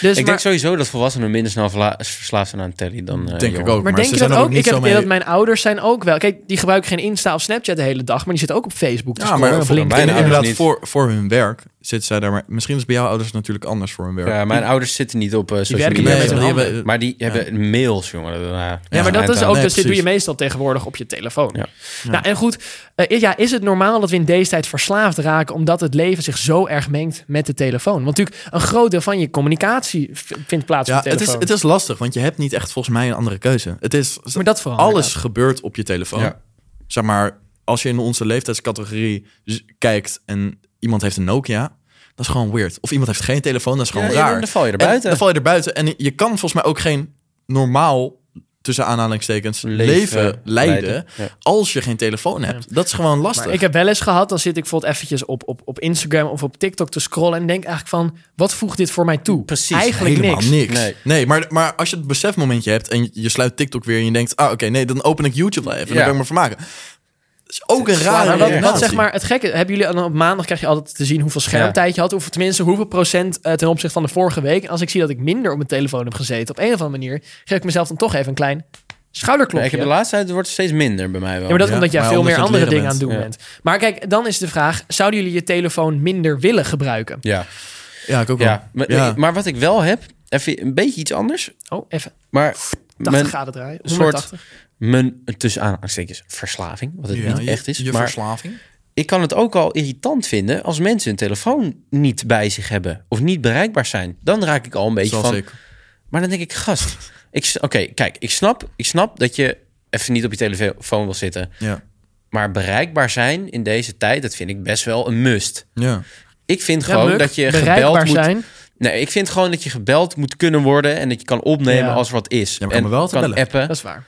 Speaker 3: Dus
Speaker 2: Ik
Speaker 3: maar-
Speaker 2: denk sowieso dat volwassenen minder snel verla- verslaafd zijn aan telly dan eh,
Speaker 1: denk ik
Speaker 2: jongeren.
Speaker 1: ook.
Speaker 3: Maar,
Speaker 1: ze
Speaker 3: denk je
Speaker 1: zijn
Speaker 3: dat
Speaker 1: er
Speaker 3: ook?
Speaker 1: niet
Speaker 3: Ik heb
Speaker 1: zo
Speaker 3: het
Speaker 1: mee...
Speaker 3: idee dat mijn ouders zijn ook wel. Kijk, die gebruiken geen Insta of Snapchat de hele dag, maar die zitten ook op Facebook. te
Speaker 1: Ja,
Speaker 3: scrollen
Speaker 1: maar
Speaker 3: of
Speaker 1: Dus voor,
Speaker 3: LinkedIn.
Speaker 2: Mijn ouders
Speaker 1: inderdaad,
Speaker 2: niet.
Speaker 1: voor, voor hun werk zitten zij daar. Maar misschien is bij jouw ouders natuurlijk anders voor hun werk.
Speaker 2: Ja, mijn ouders zitten niet op eh, social
Speaker 3: werken
Speaker 2: media.
Speaker 3: niet met
Speaker 1: maar die
Speaker 3: hun handen.
Speaker 1: hebben-
Speaker 2: Maar die hebben mails, jongen. eh, Ja,
Speaker 3: Ja, maar dat is ook,
Speaker 1: nee,
Speaker 3: dus dit doe je
Speaker 1: precies.
Speaker 3: meestal tegenwoordig op je telefoon.
Speaker 2: Ja.
Speaker 3: Nou, en goed, eh, ja, is het normaal dat we in deze tijd verslaafd raken omdat het leven zich zo erg mengt met de telefoon? Want natuurlijk, een groot deel van je communicatie v- vindt plaats
Speaker 1: Ja,
Speaker 3: op de
Speaker 1: het is,
Speaker 3: telefoon.
Speaker 1: het is lastig, want je hebt niet echt volgens mij een andere keuze. Het is,
Speaker 3: maar dat vooral.
Speaker 1: alles
Speaker 3: Oh, inderdaad.
Speaker 1: gebeurt op je telefoon.
Speaker 2: Ja.
Speaker 1: Zeg maar, als je in onze leeftijdscategorie z- kijkt en iemand heeft een Nokia, dat is gewoon weird. Of iemand heeft geen telefoon, dat is gewoon raar.
Speaker 2: Dan val je er
Speaker 1: En
Speaker 2: buiten.
Speaker 1: Dan val je er buiten. En je kan volgens mij ook geen normaal, tussen aanhalingstekens, leven, leiden,
Speaker 2: Ja.
Speaker 1: als je geen telefoon hebt. Dat is gewoon lastig.
Speaker 3: Maar ik heb wel eens gehad, dan zit ik bijvoorbeeld eventjes op, op, op Instagram of op TikTok te scrollen en denk eigenlijk van, wat voegt dit voor mij toe?
Speaker 2: Precies,
Speaker 3: Eigenlijk
Speaker 1: Helemaal
Speaker 3: niks.
Speaker 1: niks.
Speaker 2: Nee.
Speaker 1: Nee, maar, maar als je het besefmomentje hebt en je sluit TikTok weer en je denkt, ah oké, nee, dan open ik YouTube wel even en
Speaker 2: Ja.
Speaker 1: dan kan ik me vermaken. Dat is ook een
Speaker 2: Slaan
Speaker 1: rare
Speaker 3: Maar wat,
Speaker 2: Ja,
Speaker 1: redenatie.
Speaker 3: wat zeg maar het gekke, hebben jullie dan op maandag krijg je altijd te zien hoeveel schermtijd je had, of tenminste hoeveel procent eh, ten opzichte van de vorige week. En Als ik zie dat ik minder op mijn telefoon heb gezeten, op een of andere manier, geef ik mezelf dan toch even een klein
Speaker 2: Ja,
Speaker 3: schouderklopje.
Speaker 2: ik heb de laatste tijd, het wordt steeds minder bij mij wel.
Speaker 3: ja, maar dat
Speaker 1: Ja,
Speaker 3: omdat jij
Speaker 1: maar
Speaker 3: veel
Speaker 1: omdat
Speaker 3: meer
Speaker 1: je aan het
Speaker 3: andere dingen
Speaker 1: leren
Speaker 3: aan het doen bent. Maar kijk, dan is de vraag, zouden jullie je telefoon minder willen gebruiken?
Speaker 2: ja.
Speaker 1: Ja, ik ook wel.
Speaker 2: Ja.
Speaker 1: Ja.
Speaker 2: Maar, maar wat ik wel heb, even een beetje iets anders.
Speaker 3: Oh, even
Speaker 2: Maar
Speaker 3: 80
Speaker 2: mijn,
Speaker 3: graden draaien.
Speaker 2: soort-
Speaker 3: 180.
Speaker 2: mijn tussen aanhalingstekens verslaving, wat het
Speaker 1: Ja,
Speaker 2: niet
Speaker 1: je-
Speaker 2: echt is.
Speaker 1: Je
Speaker 2: maar
Speaker 1: verslaving.
Speaker 2: ik kan het ook al irritant vinden als mensen hun telefoon niet bij zich hebben of niet bereikbaar zijn. Dan raak ik al een beetje
Speaker 1: Zoals
Speaker 2: van.
Speaker 1: ik.
Speaker 2: Maar dan denk ik, gast. ik s- Oké, kijk, ik snap, ik snap dat je even niet op je telefoon wil zitten.
Speaker 1: Ja.
Speaker 2: Maar bereikbaar zijn in deze tijd, dat vind ik best wel een must.
Speaker 1: ja.
Speaker 2: Ik vind
Speaker 3: Ja,
Speaker 2: gewoon
Speaker 3: Muk,
Speaker 2: dat je gebeld
Speaker 3: bereikbaar
Speaker 2: moet.
Speaker 3: zijn.
Speaker 2: Nee, ik vind gewoon dat je gebeld moet kunnen worden en dat je kan opnemen
Speaker 3: Ja.
Speaker 2: als er wat is.
Speaker 1: maar
Speaker 2: en
Speaker 1: kan me wel te
Speaker 2: kan
Speaker 1: bellen.
Speaker 2: appen.
Speaker 3: Dat is waar.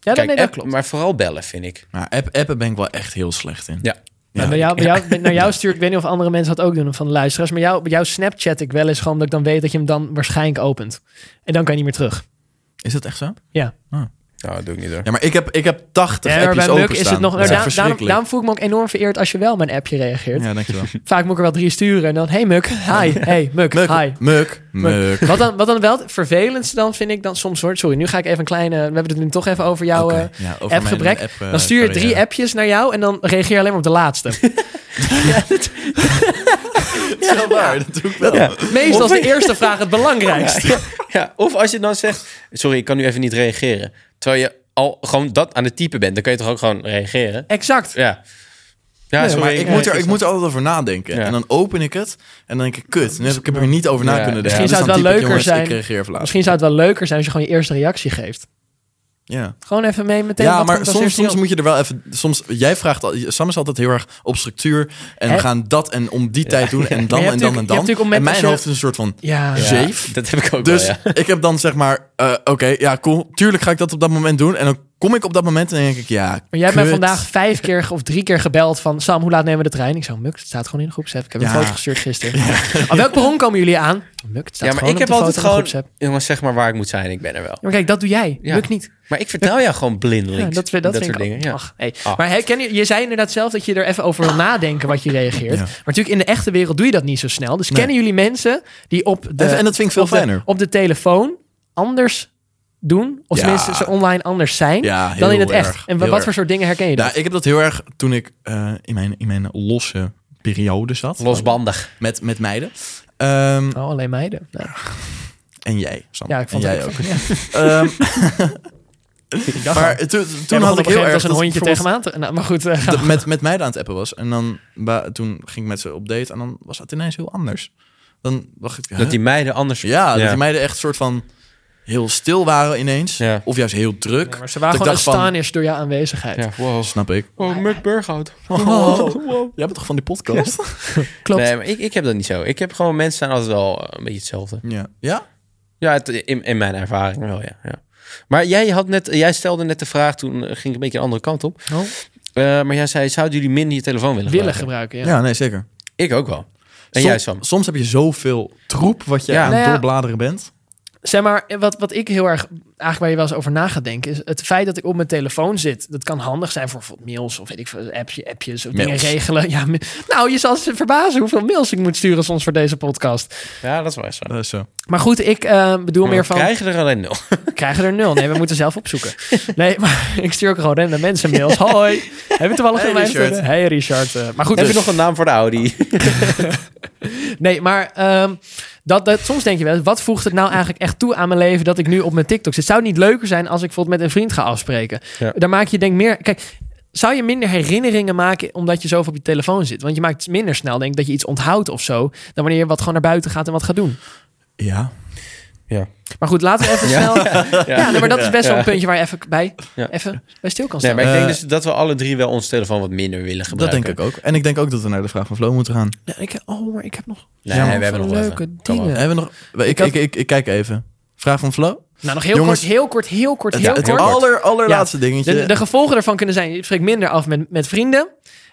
Speaker 3: Ja,
Speaker 2: Kijk,
Speaker 3: nee, dat
Speaker 2: app-
Speaker 3: klopt.
Speaker 2: Maar vooral bellen, vind ik.
Speaker 1: Maar app, appen ben ik wel echt heel slecht in.
Speaker 2: Ja.
Speaker 3: Ja, Nou, bij jou, bij jou, naar jou stuurt, ik weet niet of andere mensen dat ook doen van de luisteraars, maar jou, bij jou Snapchat ik wel eens gewoon dat ik dan weet dat je hem dan waarschijnlijk opent. En dan kan je niet meer terug.
Speaker 1: Is dat echt zo?
Speaker 3: Ja.
Speaker 2: Nou, dat doe ik niet hoor.
Speaker 1: Ja, maar ik heb, ik heb 80
Speaker 3: Ja, maar
Speaker 1: appjes
Speaker 3: bij Muk
Speaker 1: openstaan.
Speaker 3: is het nog. nou,
Speaker 1: Dat is
Speaker 3: daar- daarom,
Speaker 1: verschrikkelijk.
Speaker 3: daarom voel ik me ook enorm vereerd als je wel mijn appje reageert.
Speaker 1: ja, dankjewel.
Speaker 2: [laughs]
Speaker 3: Vaak moet ik er wel drie sturen en dan, hey Muk, hi, hey Muk,
Speaker 1: Muk,
Speaker 3: hi.
Speaker 1: Muk, Muk.
Speaker 3: Wat dan, wat dan wel het vervelendste dan vind ik dan soms hoor. Sorry, nu ga ik even een kleine. We hebben het nu toch even over jouw
Speaker 1: Oké,
Speaker 3: eh,
Speaker 1: ja, over mijn
Speaker 3: appgebrek.
Speaker 1: app, eh,
Speaker 3: dan stuur je drie
Speaker 1: carrière.
Speaker 3: appjes naar jou en dan reageer je alleen maar op de laatste.
Speaker 1: [laughs] Dat is wel waar, dat doe ik wel. Dus
Speaker 2: Ja.
Speaker 3: Meestal is de eerste vraag het
Speaker 1: [laughs]
Speaker 3: belangrijkste.
Speaker 2: Ja, ja. Of als je dan zegt, sorry, ik kan nu even niet reageren. Terwijl je al gewoon dat aan het typen bent, dan kan je toch ook gewoon reageren?
Speaker 3: Exact.
Speaker 2: Ja. Ja,
Speaker 1: Ja,
Speaker 2: sorry.
Speaker 1: maar ik, moet er, ik moet er altijd over nadenken.
Speaker 2: Ja.
Speaker 1: En dan open ik het en dan denk ik, kut, nu heb ik, ik heb er niet over na
Speaker 2: Ja.
Speaker 1: kunnen denken. Dus
Speaker 3: Misschien zou het
Speaker 1: dan
Speaker 3: wel
Speaker 1: typ ik, jongens,
Speaker 3: leuker zijn.
Speaker 1: Ik reageer even later.
Speaker 3: Misschien zou het wel leuker zijn als je gewoon je eerste reactie geeft.
Speaker 1: Ja,
Speaker 3: Gewoon even mee meteen.
Speaker 1: ja
Speaker 3: wat
Speaker 1: maar
Speaker 3: komt als
Speaker 1: soms,
Speaker 3: eerste
Speaker 1: soms
Speaker 3: op?
Speaker 1: moet je er wel even... Soms, jij vraagt... al- Sam is altijd heel erg op structuur. En
Speaker 3: Hè?
Speaker 1: we gaan dat en om die tijd doen. En dan
Speaker 3: je
Speaker 1: en
Speaker 3: hebt
Speaker 1: dan en
Speaker 3: natuurlijk- je hebt
Speaker 1: dan.
Speaker 3: natuurlijk op
Speaker 1: En
Speaker 3: met als
Speaker 1: mijn
Speaker 3: je-
Speaker 1: hoofd is een soort van...
Speaker 3: Ja.
Speaker 2: Ja,
Speaker 1: zeef.
Speaker 2: Dat heb ik ook
Speaker 1: Dus
Speaker 2: wel, ja.
Speaker 1: ik heb dan zeg maar... eh, Oké, ja, cool. Tuurlijk ga ik dat op dat moment doen. En dan kom ik op dat moment en dan denk ik... Ja,
Speaker 3: Maar jij hebt mij
Speaker 1: kut.
Speaker 3: vandaag vijf keer ge- of drie keer gebeld van... Sam, hoe laat nemen we de trein? Ik zei, Muk, het staat gewoon in de groepsapp. Ik heb een
Speaker 1: Ja.
Speaker 3: foto gestuurd gisteren. Aan welk perron komen jullie aan? Muk, het staat
Speaker 2: Ja, maar
Speaker 3: gewoon
Speaker 2: ik
Speaker 3: op
Speaker 2: heb
Speaker 3: de foto in
Speaker 2: altijd
Speaker 3: de
Speaker 2: gewoon...
Speaker 3: groepsapp.
Speaker 2: Jongens, zeg maar waar ik moet zijn, ik ben er wel.
Speaker 3: Ja, maar kijk, dat doe jij.
Speaker 2: Ja.
Speaker 3: Muk niet.
Speaker 2: Maar ik vertel jou gewoon blindelings.
Speaker 3: Ja, dat, vind- dat, vind
Speaker 2: soort
Speaker 3: ik
Speaker 2: dingen, ja.
Speaker 3: Ach, hey.
Speaker 2: Ah.
Speaker 3: Maar herken je, je zei inderdaad zelf dat je er even over wil nadenken wat je reageert.
Speaker 1: Ja.
Speaker 3: Maar natuurlijk in de echte wereld doe je dat niet zo snel. Dus kennen jullie mensen die op de,
Speaker 1: En dat vind ik veel
Speaker 3: op de-
Speaker 1: fijner.
Speaker 3: op de telefoon anders doen? Of
Speaker 1: Ja.
Speaker 3: tenminste ze online anders zijn
Speaker 1: Ja,
Speaker 3: dan in
Speaker 1: heel
Speaker 3: het echt.
Speaker 1: erg.
Speaker 3: En wa-
Speaker 1: Heel
Speaker 3: wat
Speaker 1: erg. Nou,
Speaker 3: voor soort dingen herken je dan?
Speaker 1: Ja, ik heb dat heel erg toen ik eh, in, mijn, in mijn losse periode zat.
Speaker 2: Losbandig.
Speaker 1: Met, met meiden. Ehm,
Speaker 3: Oh, alleen meiden. Nou,
Speaker 1: En jij, Sam.
Speaker 3: Ja, ik vond
Speaker 1: en
Speaker 3: het
Speaker 1: jij ook.
Speaker 3: leuk. Ja.
Speaker 1: Ehm,
Speaker 3: [laughs] Ik dacht al.
Speaker 1: maar toen,
Speaker 3: Jij
Speaker 1: toen
Speaker 3: begon
Speaker 1: had
Speaker 3: op
Speaker 1: ik
Speaker 3: een gegeven
Speaker 1: heel
Speaker 3: moment
Speaker 1: erg
Speaker 3: als een
Speaker 1: dat
Speaker 3: hondje
Speaker 1: ik
Speaker 3: tegen me aan te- Nou, maar
Speaker 1: [laughs]
Speaker 3: goed. eh,
Speaker 1: bijvoorbeeld met, met meiden aan het appen was. En dan ba- toen ging ik met ze op date en dan was dat ineens heel anders. Dan dacht ik...
Speaker 2: Dat die meiden anders...
Speaker 1: Ja, dat die meiden echt soort van heel stil waren ineens.
Speaker 2: Ja.
Speaker 1: Of juist heel druk.
Speaker 3: maar ze
Speaker 1: Dat
Speaker 3: waren
Speaker 1: ik
Speaker 3: gewoon
Speaker 1: dacht van-
Speaker 3: astonished door jouw aanwezigheid.
Speaker 2: Ja, wow.
Speaker 1: Snap ik.
Speaker 2: Oh, Muck
Speaker 1: [laughs]
Speaker 2: Burghout.
Speaker 1: Jij bent toch van die podcast?
Speaker 3: Klopt.
Speaker 2: Nee, maar ik, ik heb dat niet zo. Ik heb gewoon... Mensen zijn altijd wel eh, een beetje hetzelfde.
Speaker 1: Ja. Ja?
Speaker 2: Ja, het- in, in mijn ervaring wel, ja. ja. Maar jij, had net, jij stelde net de vraag, toen eh, ging ik een beetje een andere kant op.
Speaker 3: Oh.
Speaker 2: Eh, maar jij zei, zouden jullie minder je telefoon willen
Speaker 3: Willen
Speaker 2: gebruiken?
Speaker 3: gebruiken, ja.
Speaker 1: Ja, nee, zeker.
Speaker 2: Ik ook wel. En
Speaker 1: Som-
Speaker 2: jij, Sam?
Speaker 1: Soms heb je zoveel troep wat je
Speaker 2: Ja.
Speaker 1: aan
Speaker 3: Nou
Speaker 1: het
Speaker 3: ja.
Speaker 1: doorbladeren bent.
Speaker 3: Zeg maar, wat, wat ik heel erg, eigenlijk waar je wel eens over na gaat denken, is het feit dat ik op mijn telefoon zit. Dat kan handig zijn voor bijvoorbeeld mails of weet ik veel, appje, appjes of
Speaker 1: Mails.
Speaker 3: dingen regelen. Ja, ma- nou, je zal ze verbazen hoeveel mails ik moet sturen soms voor deze podcast.
Speaker 2: Ja, dat is wel echt zo.
Speaker 1: Dat is Eh, zo.
Speaker 3: Maar goed, ik eh, bedoel
Speaker 2: Maar
Speaker 3: meer
Speaker 2: we
Speaker 3: van,
Speaker 2: krijgen er alleen nul.
Speaker 3: krijgen er nul? Nee, we moeten zelf opzoeken. Nee, maar [laughs] ik stuur ook gewoon random mensen mails.
Speaker 1: [laughs]
Speaker 3: Hoi, heb je toevallig
Speaker 1: Hey,
Speaker 3: een lijst?
Speaker 1: Richard.
Speaker 3: Hey Richard. eh, maar goed,
Speaker 2: Heb
Speaker 3: dus-
Speaker 2: je nog een naam voor de Audi?
Speaker 3: Nee, maar ehm, dat, dat, soms denk je wel, eens, wat voegt het nou eigenlijk echt toe aan mijn leven dat ik nu op mijn TikTok zit? Zou het niet leuker zijn als ik bijvoorbeeld met een vriend ga afspreken?
Speaker 2: Ja.
Speaker 3: Daar maak je denk meer... Kijk, zou je minder herinneringen maken omdat je zoveel op je telefoon zit? Want je maakt minder snel, denk ik, dat je iets onthoudt of zo, dan wanneer je wat gewoon naar buiten gaat en wat gaat doen.
Speaker 1: Ja.
Speaker 3: Maar goed, laten we even
Speaker 2: Ja.
Speaker 3: snel... Ja, nee, maar dat is best wel
Speaker 2: Ja.
Speaker 3: een puntje waar je even bij,
Speaker 2: Ja.
Speaker 3: even bij stil kan
Speaker 2: Nee,
Speaker 3: staan.
Speaker 2: maar ik denk
Speaker 1: Eh,
Speaker 2: dus dat we alle drie wel ons telefoon wat minder willen
Speaker 1: Dat
Speaker 2: gebruiken.
Speaker 1: denk ik ook. En ik denk ook dat we naar de vraag van Flo moeten gaan.
Speaker 3: Ja, ik, oh, maar ik heb nog
Speaker 2: Nee,
Speaker 3: zoveel
Speaker 2: we hebben nog
Speaker 3: leuke
Speaker 2: even. Kom
Speaker 3: dingen.
Speaker 1: Hebben we nog... Ik,
Speaker 3: had-
Speaker 1: ik, ik, ik kijk even. Vraag van Flo?
Speaker 3: Nou, nog heel
Speaker 1: Jongens,
Speaker 3: kort, heel kort, heel kort, heel
Speaker 1: Het,
Speaker 3: kort.
Speaker 1: het aller, allerlaatste dingetje.
Speaker 3: De, de gevolgen daarvan kunnen zijn: je spreekt minder af met, met vrienden.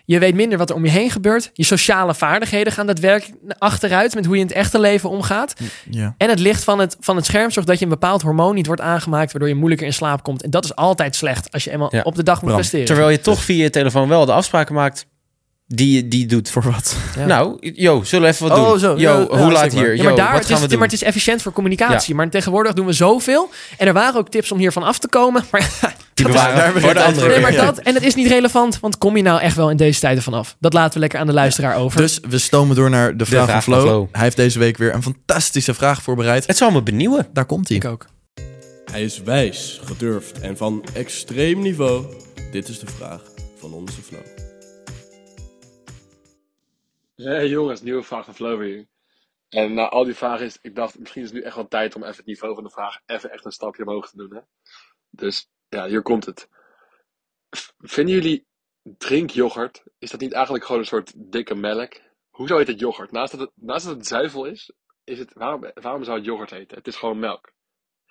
Speaker 3: Je weet minder wat er om je heen gebeurt. Je sociale vaardigheden gaan daadwerkelijk achteruit met hoe je in het echte leven omgaat.
Speaker 1: Ja.
Speaker 3: En het licht van het, van het scherm zorgt dat je een bepaald hormoon niet wordt aangemaakt, waardoor je moeilijker in slaap komt. En dat is altijd slecht als je eenmaal
Speaker 2: Ja.
Speaker 3: op de dag moet
Speaker 1: Bram,
Speaker 3: presteren.
Speaker 2: Terwijl je toch via je telefoon wel de afspraken maakt die je die je doet.
Speaker 1: Voor wat?
Speaker 3: Ja.
Speaker 2: Nou, yo, zullen we even wat
Speaker 1: Oh,
Speaker 2: doen?
Speaker 1: zo,
Speaker 2: Yo,
Speaker 1: ja, ja,
Speaker 2: hoe laat
Speaker 1: zeker.
Speaker 2: hier?
Speaker 3: ja,
Speaker 2: Yo,
Speaker 3: maar, daar,
Speaker 2: wat
Speaker 3: het, is,
Speaker 2: gaan we
Speaker 3: maar
Speaker 2: doen?
Speaker 3: het is efficiënt voor communicatie. Maar tegenwoordig doen we zoveel. En er waren ook tips om hiervan af te komen. Maar, [laughs]
Speaker 2: Die
Speaker 1: Daar
Speaker 2: bewaren
Speaker 1: hebben we
Speaker 2: voor de
Speaker 1: geen
Speaker 2: andere
Speaker 1: tijd
Speaker 3: nee,
Speaker 1: voor.
Speaker 3: maar
Speaker 2: keer.
Speaker 3: dat, en het is niet relevant, want kom je nou echt wel in deze tijden vanaf? Dat laten we lekker aan de luisteraar over.
Speaker 1: Dus we stomen door naar de vraag,
Speaker 2: vraag
Speaker 1: van, Flo.
Speaker 2: van Flo.
Speaker 1: Hij heeft deze week weer een fantastische vraag voorbereid.
Speaker 2: Het zal me benieuwen.
Speaker 1: Daar komt hij.
Speaker 3: ik ook.
Speaker 6: Hij is wijs, gedurfd en van extreem niveau. Dit is de vraag van onze Flo.
Speaker 7: Hey jongens, nieuwe vraag van Flo weer. En na al die vragen is, ik dacht, misschien is het nu echt wel tijd om even het niveau van de vraag even echt een stapje omhoog te doen. Hè? Dus ja, hier komt het. V- Vinden jullie drinkyoghurt, is dat niet eigenlijk gewoon een soort dikke melk? Hoezo heet het yoghurt? Naast dat het, naast dat het zuivel is, is het, waarom, waarom zou het yoghurt heten? Het is gewoon melk.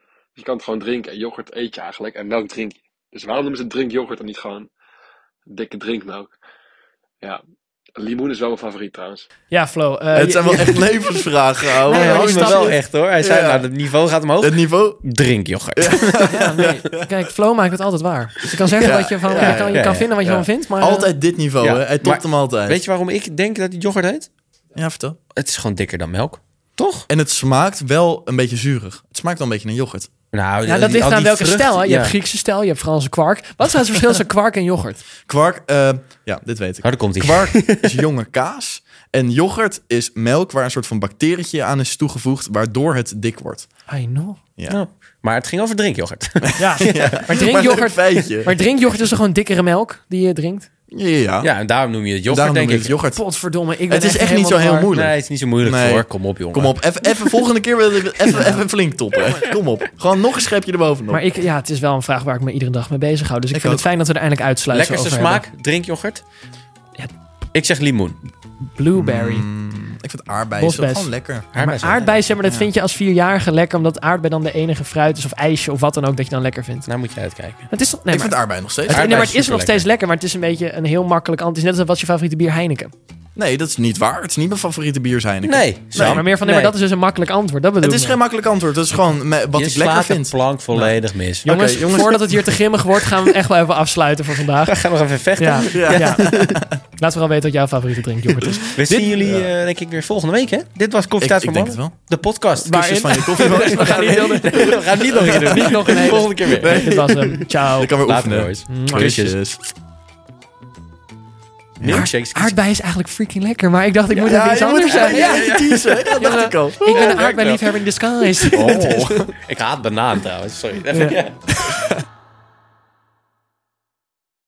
Speaker 7: Dus Je kan het gewoon drinken. En yoghurt eet je eigenlijk en melk drink je. Dus waarom noemen ze het drinkyoghurt en niet gewoon dikke drinkmelk? Ja, limoen is wel mijn favoriet trouwens.
Speaker 3: Ja, Flo. eh,
Speaker 1: het
Speaker 3: je-
Speaker 1: zijn wel echt levensvragen, ouwe.
Speaker 3: Nee,
Speaker 2: Hij
Speaker 3: maar
Speaker 2: had
Speaker 3: die
Speaker 2: me
Speaker 3: stap-
Speaker 2: wel echt hoor. Hij zei,
Speaker 1: Ja.
Speaker 2: nou, het niveau gaat omhoog.
Speaker 1: Het niveau...
Speaker 2: Drink yoghurt.
Speaker 3: Ja, nee.
Speaker 1: [laughs]
Speaker 3: Kijk, flow maakt het altijd waar. Dus je kan zeggen
Speaker 1: Ja,
Speaker 3: wat je van
Speaker 1: ja,
Speaker 3: je kan, je
Speaker 2: ja,
Speaker 3: kan
Speaker 2: ja,
Speaker 3: vinden wat je
Speaker 2: ja.
Speaker 3: van vindt, maar eh,
Speaker 1: Altijd dit niveau,
Speaker 2: Ja,
Speaker 1: hè? Hij topt
Speaker 2: maar-
Speaker 1: hem altijd.
Speaker 2: Weet je waarom ik denk dat het yoghurt heet?
Speaker 1: Ja, vertel.
Speaker 2: Het is gewoon dikker dan melk. Toch?
Speaker 1: En het smaakt wel een beetje zuurig. Het smaakt wel een beetje naar yoghurt.
Speaker 2: Nou,
Speaker 3: ja, dat ligt aan welke stijl. Hè? Je hebt Griekse stijl, je hebt Franse kwark. Wat is nou het verschil tussen kwark en yoghurt?
Speaker 1: Kwark, eh, ja, dit weet ik.
Speaker 2: daar komt hij.
Speaker 1: Kwark is jonge kaas. En yoghurt is melk waar een soort van bacterietje aan is toegevoegd, waardoor het dik wordt.
Speaker 3: I know.
Speaker 1: Ja.
Speaker 2: Maar het ging over drinkyoghurt.
Speaker 1: [laughs]
Speaker 3: Ja, maar
Speaker 1: Maar leuk
Speaker 3: drinkyoghurt...
Speaker 1: feitje.
Speaker 3: Maar drinkyoghurt is toch gewoon dikkere melk die je drinkt?
Speaker 1: ja.
Speaker 2: [laughs] ja, en daarom noem je het yoghurt,
Speaker 1: Daarom
Speaker 2: denk
Speaker 1: noem je
Speaker 2: ik.
Speaker 1: het yoghurt.
Speaker 3: Potverdomme, ik ben
Speaker 1: Het is echt niet zo heel
Speaker 3: moeilijk.
Speaker 1: moeilijk.
Speaker 2: Nee, het is niet zo moeilijk
Speaker 1: Nee.
Speaker 2: hoor. Kom op, jongen.
Speaker 1: Kom op, even, even volgende keer wil
Speaker 2: [laughs]
Speaker 1: ik even, even flink toppen. Kom op. Gewoon nog een schepje erbovenop.
Speaker 3: Maar ik, ja, het is wel een vraag waar ik me iedere dag mee bezig hou. Dus ik,
Speaker 1: Ik
Speaker 3: vind
Speaker 1: ook.
Speaker 3: het fijn dat we er eindelijk uitsluiten.
Speaker 2: Lekkerste smaak, drinkyoghurt.
Speaker 3: Ja.
Speaker 2: Ik zeg limoen.
Speaker 3: Blueberry.
Speaker 1: Mm, Ik vind aardbeien zo
Speaker 3: Bosbes.
Speaker 1: gewoon lekker.
Speaker 3: Maar aardbei, zeg maar, dat vind je als vierjarige lekker... omdat aardbei dan de enige fruit is of ijsje of wat dan ook dat je dan lekker vindt.
Speaker 2: Nou moet je uitkijken.
Speaker 3: Het is toch... Nee,
Speaker 1: ik
Speaker 3: maar-
Speaker 1: vind aardbeien nog steeds.
Speaker 3: Het, nee,
Speaker 2: Aardbei
Speaker 3: maar
Speaker 2: is
Speaker 3: het is nog
Speaker 2: superlekker.
Speaker 3: steeds lekker, maar het is een beetje een heel makkelijk antwoord. Het is net als wat is je favoriete bier Heineken.
Speaker 1: Nee, dat is niet waar. Het is niet mijn favoriete bier zijn.
Speaker 2: Nee,
Speaker 3: Nee, maar meer van, nee, maar dat is dus een makkelijk antwoord. Dat bedoel
Speaker 1: Het is
Speaker 3: ik.
Speaker 1: geen makkelijk antwoord. Het is gewoon me- wat
Speaker 2: je
Speaker 1: ik lekker
Speaker 2: slaat de
Speaker 1: vind.
Speaker 2: plank volledig mis. We
Speaker 3: jongens,
Speaker 1: Oké, jongens.
Speaker 3: voordat het hier te grimmig wordt, gaan we het echt wel even afsluiten voor vandaag.
Speaker 2: gaan nog even vechten.
Speaker 3: Ja, ja.
Speaker 1: [laughs] Ja.
Speaker 3: Laat vooral weten wat jouw favoriete drinkyoghurt is.
Speaker 2: We zien jullie eh, denk ik weer volgende week, hè? Dit was
Speaker 1: Ik,
Speaker 2: Koffietijd
Speaker 1: ik
Speaker 2: voor
Speaker 1: denk het
Speaker 2: Mannen.
Speaker 1: wel.
Speaker 2: De podcast. [laughs]
Speaker 1: Kusjes van je
Speaker 3: [laughs]
Speaker 1: koffie.
Speaker 3: We gaan niet, heel de-
Speaker 2: We gaan niet nog een keer doen.
Speaker 3: niet nog een hele...
Speaker 2: Volgende keer weer.
Speaker 3: Nee, Dit was hem. Ciao.
Speaker 1: Ik kan weer
Speaker 2: Later,
Speaker 1: oefenen.
Speaker 2: boys.
Speaker 1: Kusjes.
Speaker 2: Milkshakes.
Speaker 3: Aardbei is eigenlijk freaking lekker, maar ik dacht ik moet even iets
Speaker 1: je moet
Speaker 3: anders zeggen.
Speaker 1: Ja, je kiezen. Dat dacht ik al.
Speaker 3: [laughs] Ik ben een aardbei liefhebber in disguise.
Speaker 2: [laughs] Oh. ik haat banaan trouwens, sorry. Even- ja.